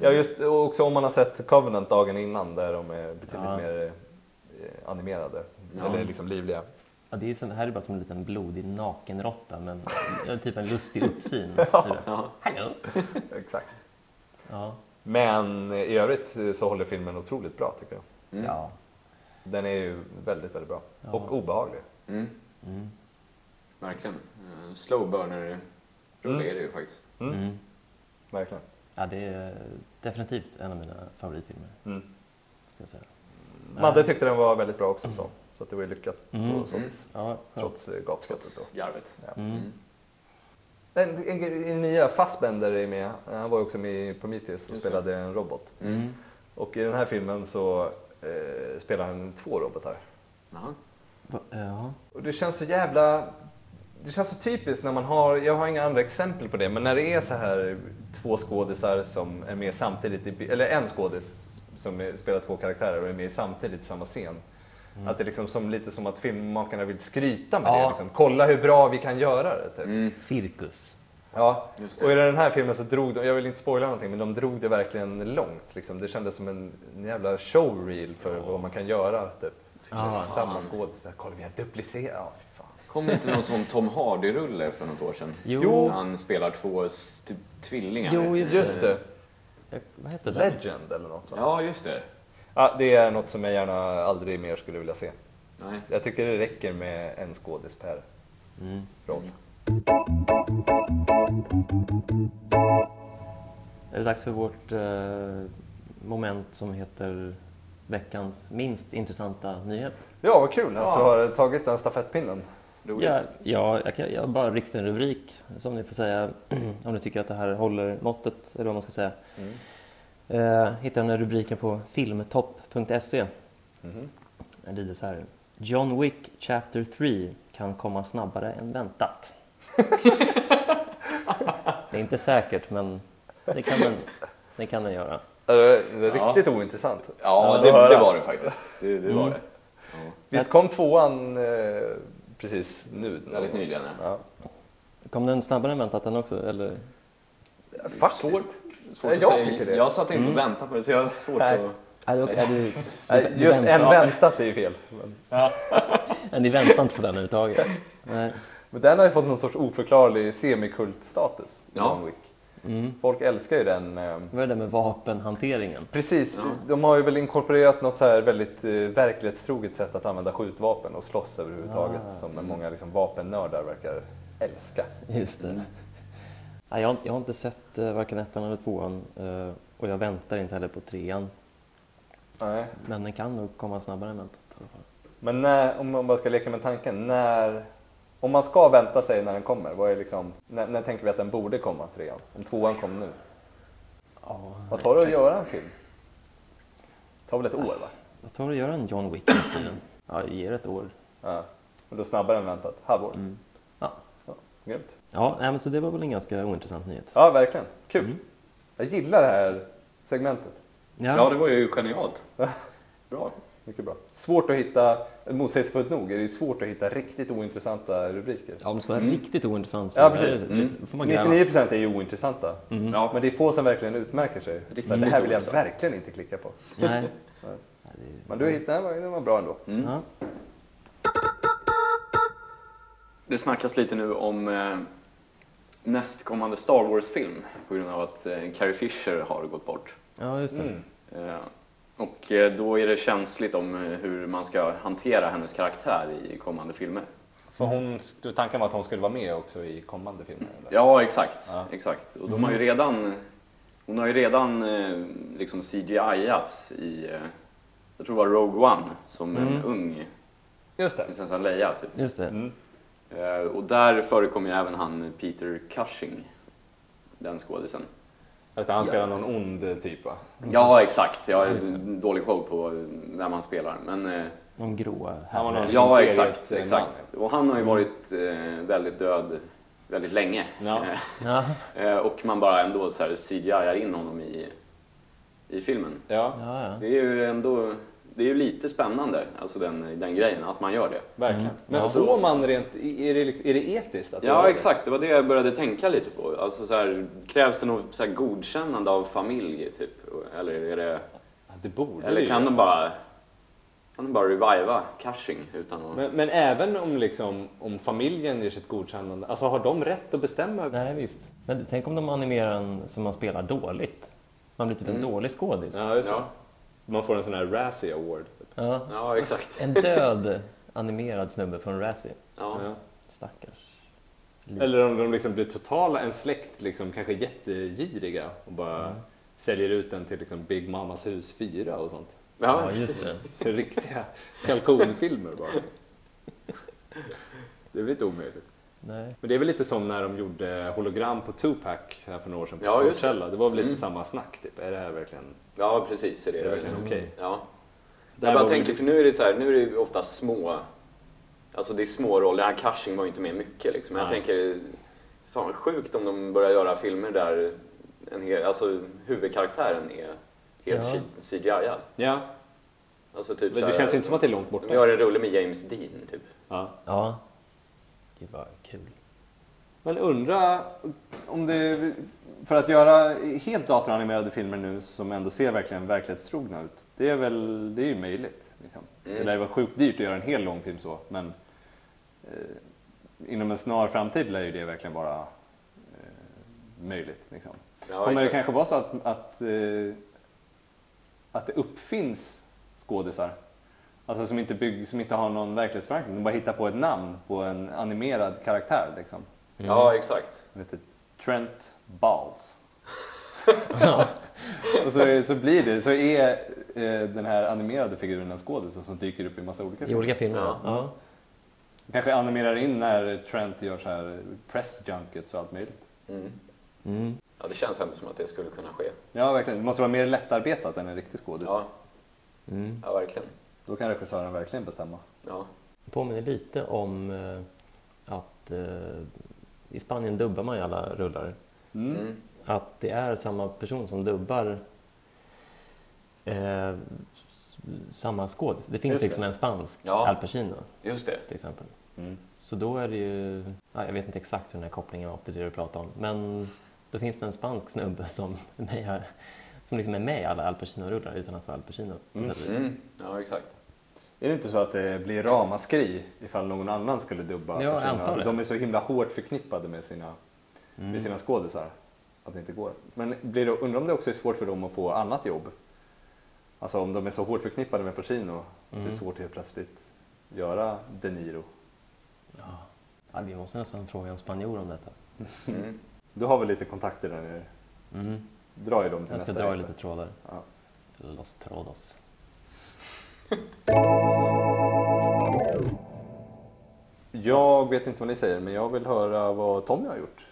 S3: Ja, just och också om man har sett Covenant dagen innan där de är betydligt
S2: Ja.
S3: mer eh, animerade. Eller liksom livliga.
S2: Ja, det är som, här är det bara som en liten blodig nakenråtta, men ja, typ en lustig uppsyn.
S4: Ja.
S2: Hallå!
S3: Exakt.
S2: Ja.
S3: Men i övrigt så håller filmen otroligt bra tycker jag.
S2: ja.
S3: Den är ju väldigt, väldigt bra. Och obehaglig.
S4: Mm. Verkligen. Eh, Slow burner rulle är det ju faktiskt.
S2: Mm.
S3: Verkligen.
S2: Ja, det är definitivt en av mina favoritfilmer.
S3: Mm.
S2: Ska jag säga.
S3: Madde tyckte den var väldigt bra också så. Så att det var ju lyckat på så vis.
S2: Ja, ja.
S3: Trots eh, gapskottet då.
S4: Garvet.
S3: Ja.
S2: Mm.
S3: En, en, grej- en nya Fassbender är med. Han var ju också med i Prometheus och
S4: Just det.
S3: spelade en robot.
S4: Mm.
S3: Och i den här filmen så eh, spelar han två robotar.
S4: Jaha.
S2: Va, eh, ja.
S3: Och det känns så jävla... Det känns så typiskt när man har, jag har inga andra exempel på det, men när det är så här två skådisar som är med samtidigt, i, bi- eller en skådis som är, spelar två karaktärer och är med samtidigt i samma scen.
S4: Mm.
S3: Att det är liksom som, lite som att filmmakarna vill skryta med
S2: Ja.
S3: det. Liksom. Kolla hur bra vi kan göra det. Typ.
S2: Cirkus.
S3: Ja,
S4: Mm. Just det.
S3: och i den här filmen så drog de, jag vill inte spoila någonting, men de drog det verkligen långt. Liksom. Det kändes som en, en jävla showreel för vad man kan göra. Typ. Samma skådis, kolla vi har duplicerat. Ja, fy fan.
S4: Kom det inte någon sån Tom Hardy-rulle för något år sedan?
S2: Jo.
S4: Där Han spelar två s- typ, tvillingar.
S2: Jo, just,
S3: Just det.
S2: Jag, vad heter den?
S3: Legend eller något va?
S4: Ja, just det.
S3: Ja, det är något som jag gärna aldrig mer skulle vilja se.
S4: Nej.
S3: Jag tycker det räcker med en skådis per
S4: Mm.
S3: roll.
S2: Är det dags för vårt eh, moment som heter veckans minst intressanta nyhet?
S3: Ja, vad kul att du har tagit den stafettpinnen.
S4: Roligt.
S2: Ja, ja, jag, kan, jag bara ryckte en rubrik som ni får säga om ni tycker att det här håller måttet eller vad man ska säga.
S3: Mm.
S2: Eh, hittar den här rubriken på filmtopp.se.
S3: Mm-hmm.
S2: Den lyder så här. John Wick Chapter 3 kan komma snabbare än väntat. det är inte säkert men det kan den, det kan den göra.
S3: Riktigt ointressant.
S4: Ja,
S3: Ja,
S4: det,
S3: höra.
S4: det var det faktiskt. Det, det var det.
S3: Visst kom tvåan eh, precis nu?
S4: Väldigt nyligen. Ja.
S3: Ja.
S2: Kom den snabbare än väntat den också? Eller?
S3: Faktiskt. Eh,
S4: Svårt att
S3: Jag
S4: säga. Mm.
S3: tycker det.
S4: Jag satt inte och väntade på det, så jag har svårt
S3: Nej.
S4: att...
S2: Nej, det- är det-
S3: Nej, Just en väntat är ju fel. Men,
S2: Nej, Ni väntar inte på den överhuvudtaget? Nej.
S3: men den har ju fått någon sorts oförklarlig semikultstatus.
S4: Ja. Mm.
S3: John Wick. Folk älskar ju den. eh,
S2: Vad är det med vapenhanteringen?
S3: Precis, de har ju väl inkorporerat något så här väldigt eh, verklighetstroget sätt att använda skjutvapen och slåss överhuvudtaget som många liksom, vapennördar verkar älska.
S2: Just det. Nej, jag, har- jag har inte sett eh, varken ettan eller tvåan eh, och jag väntar inte heller på trean.
S3: Nej.
S2: Men den kan nog komma snabbare än väntat. i alla fall.
S3: Men när, om man bara ska leka med tanken, när, om man ska vänta sig när den kommer, vad är liksom, när, när tänker vi att den borde komma, trean? Om tvåan kom nu?
S2: Ja,
S3: Vad tar det att göra en film? Det tar väl ett år va?
S2: jag tar och gör en John Wick nu för tiden. Ja, jag ger ett år.
S3: Ja. Och då snabbare än väntat, halvår?
S2: Ja,
S3: Mm. Ja, grymt.
S2: ja nej, men så det var väl en ganska ointressant nyhet.
S3: Ja, verkligen. Kul. Jag gillar det här segmentet.
S4: Ja, det var ju genialt. Bra.
S3: Mycket bra. Svårt att hitta, motsägelsefullt nog, är det ju svårt att hitta riktigt ointressanta rubriker.
S2: Ja, om det ska vara riktigt ointressant så
S3: Ja, precis.
S2: är det lite- får man gräva.
S3: 99 procent är ju ointressanta.
S4: Ja.
S3: Men det är få som verkligen utmärker sig.
S4: Riktigt
S3: Men det här vill jag
S4: ointressant.
S3: verkligen inte klicka på.
S2: Nej.
S3: Men du hittade den, var- den var bra ändå.
S4: Mm.
S2: Ja.
S4: Det snackas lite nu om eh, nästkommande Star Wars-film på grund av att eh, Carrie Fisher har gått bort.
S2: ja, just det.
S4: Eh, och eh, då är det känsligt om eh, hur man ska hantera hennes karaktär i kommande filmer.
S3: Så hon, tanken var att hon skulle vara med också i kommande filmer?
S4: Ja, Mm. exakt. exakt. Och de har ju redan, hon har ju redan eh, liksom CGI-ats i, eh, jag tror det var Rogue One, som en ung
S3: Just det.
S4: prinsessan Leia. Typ.
S2: Just det.
S4: Eh, och där förekommer ju även han Peter Cushing, den skådisen.
S3: Just det, han spelar någon ond typ va?
S4: Ja, exakt. Jag har dålig koll på vem han spelar. Men, eh,
S2: De gråa
S3: Han var
S2: herrarna.
S3: någon-
S4: ja,
S3: Imperiet,
S4: exakt.
S3: eh,
S4: exakt. Och han har ju varit eh, väldigt död väldigt länge.
S3: Ja.
S2: Ja.
S4: Eh, och man bara ändå så här CGI-ar in honom i, i filmen.
S3: Ja,
S2: Ja, ja.
S4: Det är ju ändå det är ju lite spännande, alltså den, den grejen, att man gör det.
S3: verkligen. Men
S4: Mm. Ja.
S3: får man rent, är det, liksom, är det etiskt att göra
S4: Ja,
S3: det?
S4: exakt. Det var det jag började tänka lite på. Alltså, så här, krävs det något så här, godkännande av familj, typ? Eller, är det,
S3: Det borde
S4: eller
S3: det
S4: kan
S3: ju.
S4: de bara... Kan de bara reviva Cushing utan att...
S3: Men, men även om, liksom, om familjen ger sitt godkännande, alltså har de rätt att bestämma?
S2: Nej, visst. Men tänk om de animerar en som man spelar dåligt. Man blir typ en dålig skådis.
S3: Ja, just det.
S4: Mm. Ja.
S3: Man får en sån här Razzie Award.
S2: Ja.
S4: Ja, exakt.
S2: En död animerad snubbe från Razzie.
S4: Ja.
S3: Ja.
S2: Stackars.
S3: Eller om de liksom blir totala, en släkt liksom, kanske är jättegiriga och bara säljer ut den till liksom, Big Mamas hus 4 och sånt.
S4: Ja.
S2: just det.
S3: Riktiga kalkonfilmer bara. Det är väl inte omöjligt.
S2: Nej.
S3: Men det är väl lite som när de gjorde hologram på Tupac här för några år sedan på
S4: Ja, just det. Mm.
S3: Coachella. Det var väl lite samma snack typ. Är det här verkligen,
S4: ja, precis. Är det, Mm.
S3: är det verkligen okej?
S4: Ja.
S3: här
S4: Jag bara
S3: var
S4: tänker,
S3: väl-
S4: för nu är det så här, nu är det ju ofta små... Alltså det är små roller. Han Cushing var ju inte med mycket liksom. Men Jag
S3: Nej.
S4: tänker, fan vad sjukt om de börjar göra filmer där en hel, alltså, huvudkaraktären är helt
S2: Ja.
S4: CGI. -ad.
S3: Ja,
S4: Alltså typ
S3: men det
S4: så här,
S3: känns ju inte som att det är långt borta.
S4: De gör en rulle med James Dean typ.
S3: Ja.
S2: Ja. Gud vad kul.
S1: Men undra om det... För att göra helt datoranimerade filmer nu som ändå ser verkligen verklighetstrogna ut. Det är väl det är ju möjligt. Liksom.
S4: Mm.
S1: Det lär ju vara sjukt dyrt att göra en hel lång film så. Men eh, inom en snar framtid lär ju det verkligen vara eh, möjligt. Liksom.
S4: Ja,
S1: Kommer det
S4: exakt.
S1: kanske vara så att, att, eh, att det uppfinns skådisar
S3: Alltså som inte, bygg, som inte har någon verklighetsförankring. De bara hittar på ett namn på en animerad karaktär. Liksom.
S4: Ja, exakt.
S3: Den heter Trent Balls. och så, är- så blir det, så är eh, den här animerade figuren en skådis som- som dyker upp i massa olika
S2: I
S3: filmer.
S2: olika filmer?
S4: Ja.
S2: Ja. ja.
S3: Kanske animerar in när Trent gör så här press junkets och allt möjligt.
S2: Mm.
S4: Ja, det känns ändå som att det skulle kunna ske.
S3: Ja, verkligen. Det måste vara mer lättarbetat än en riktig skådis.
S4: Ja,
S2: Mm.
S4: ja verkligen.
S3: Då kan regissören verkligen bestämma.
S4: Ja.
S2: Det påminner lite om eh, att eh, i Spanien dubbar man ju alla rullar.
S3: Mm.
S4: Mm.
S2: Att det är samma person som dubbar eh, s- samma skådis. Det finns
S4: Just det.
S2: liksom en spansk
S4: Ja.
S2: Al Pacino
S4: Just det.
S2: till exempel.
S3: Mm.
S2: Så då är det ju, ja, jag vet inte exakt hur den här kopplingen var till det du pratade om, men då finns det en spansk snubbe som, mig har, som liksom är med i alla Al Pacino-rullar utan att vara Al Pacino. på sätt och vis.
S4: Mm. Ja, exakt.
S3: Är det inte så att det blir ramaskri ifall någon annan skulle dubba
S2: Ja, jag
S3: personerna?
S2: antar
S3: Alltså,
S2: det.
S3: de är så himla hårt förknippade med sina,
S2: Mm.
S3: med sina skådisar att det inte går. Men blir det, undrar om det också är svårt för dem att få annat jobb? Alltså om de är så hårt förknippade med Pacino att
S2: Mm.
S3: det är svårt att helt plötsligt göra De Niro.
S2: Ja, vi måste nästan fråga en spanjor om detta.
S4: Mm.
S3: Du har väl lite kontakter där nere? Dra i dem till
S2: Mm. Jag ska
S3: nästa
S2: dra i
S3: vecka.
S2: lite trådar.
S3: Ja.
S2: Los trådos.
S3: Jag vet inte vad ni säger men jag vill höra vad Tommy har gjort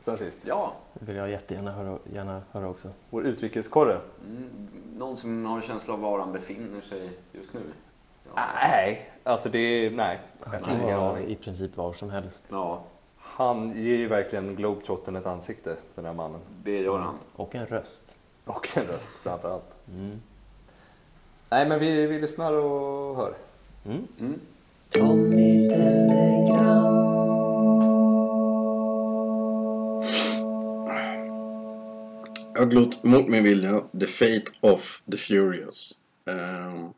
S3: sen sist.
S4: Ja,
S2: Det vill jag jättegärna höra, gärna höra också.
S3: Vår utrikeskorre.
S4: mm. någon som har en känsla av var han befinner sig just nu?
S3: Nej, alltså det är, nej.
S2: Det kan vara i princip var som helst.
S4: Ja,
S3: Han ger ju verkligen globetrotten ett ansikte, den här mannen.
S4: det gör han.
S2: Och en röst.
S3: Och en röst framför allt. Nej, men vi, vi lyssnar och hör.
S4: Mm.
S8: Jag har glott mot min vilja The Fate of the Furious. Ehm,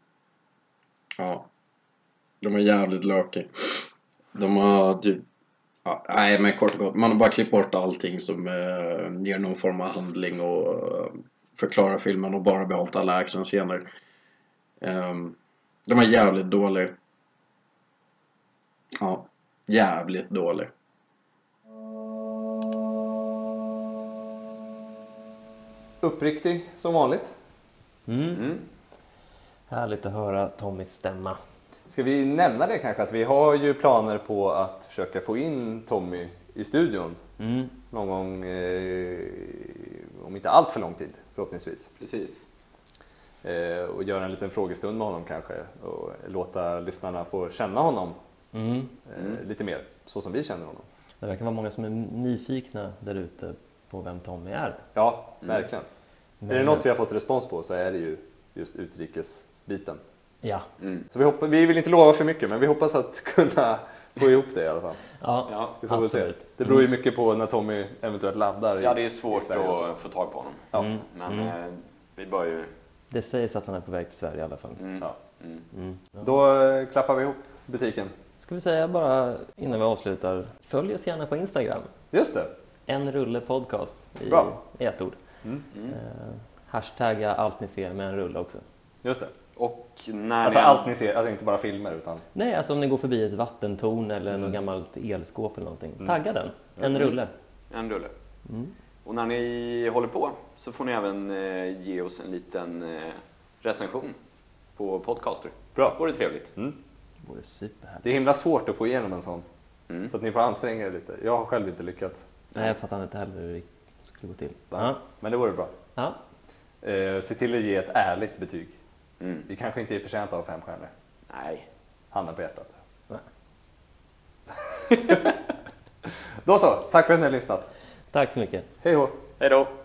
S8: ja. De är jävligt lökiga. De har typ... Ja, nej men kort och gott. Man har bara klippt bort allting som eh, ger någon form av handling och eh, förklarar filmen och bara behållit alla actionscener. Ehm, de är jävligt dåliga. Ja. Jävligt dåliga.
S3: Uppriktig, som vanligt.
S2: Härligt att höra Tommys stämma.
S3: Ska vi nämna det kanske, att vi har ju planer på att försöka få in Tommy i studion.
S2: Mm.
S3: Någon gång, eh, om inte allt för lång tid förhoppningsvis.
S4: Precis.
S3: Eh, och göra en liten frågestund med honom kanske. Och låta lyssnarna få känna honom
S2: Mm.
S3: eh, lite mer, så som vi känner honom.
S2: Det verkar vara många som är nyfikna där ute på vem Tommy är.
S3: Ja,
S2: Mm.
S3: verkligen. Är det något vi har fått respons på så är det ju just utrikesbiten.
S2: Ja.
S3: Så vi, hoppas, vi vill inte lova för mycket men vi hoppas att kunna få ihop det i alla fall.
S2: Ja.
S4: Ja,
S3: Vi får väl se.
S2: Absolut.
S3: Det beror ju mycket på när Tommy eventuellt laddar. i-
S4: ja det är
S3: i
S4: svårt
S3: Sverige och så.
S4: att få tag på honom.
S3: Ja.
S4: Men
S3: Mm.
S4: eh, vi bör ju...
S2: Det sägs att han är på väg till Sverige i alla fall.
S4: Mm.
S3: Ja.
S4: Mm.
S3: Då eh, klappar vi ihop butiken.
S2: Ska vi säga bara innan vi avslutar, följ oss gärna på Instagram.
S3: Just det,
S2: En rulle podcast i,
S3: Bra. Mm.
S2: i ett ord. Eh, hashtagga allt ni ser med en rulle också.
S3: just det.
S4: Och när
S3: Alltså
S4: ni...
S3: allt ni ser, alltså inte bara filmer utan
S2: Nej, alltså om ni går förbi ett vattentorn eller
S3: Mm.
S2: något gammalt elskåp eller någonting. Tagga den. En rulle.
S4: En rulle. Och när ni håller på så får ni även eh, ge oss en liten eh, recension på Podcaster.
S3: Bra.
S4: Vore trevligt.
S2: Det vore superhärligt.
S3: det är himla svårt att få igenom en sån.
S4: Mm.
S3: Så att ni får anstränga er lite. Jag har själv inte lyckats.
S2: Nej, jag fattar inte heller hur det skulle gå till.
S3: Va?
S2: Ja.
S3: Men det vore bra.
S2: Ja.
S3: Eh, se till att ge ett ärligt betyg.
S4: Mm.
S3: Vi kanske inte är förtjänta av fem stjärnor.
S4: Nej.
S3: Handen på hjärtat. Då så, tack för att ni har lyssnat.
S2: Tack så mycket.
S3: Hej då!
S4: Hej då.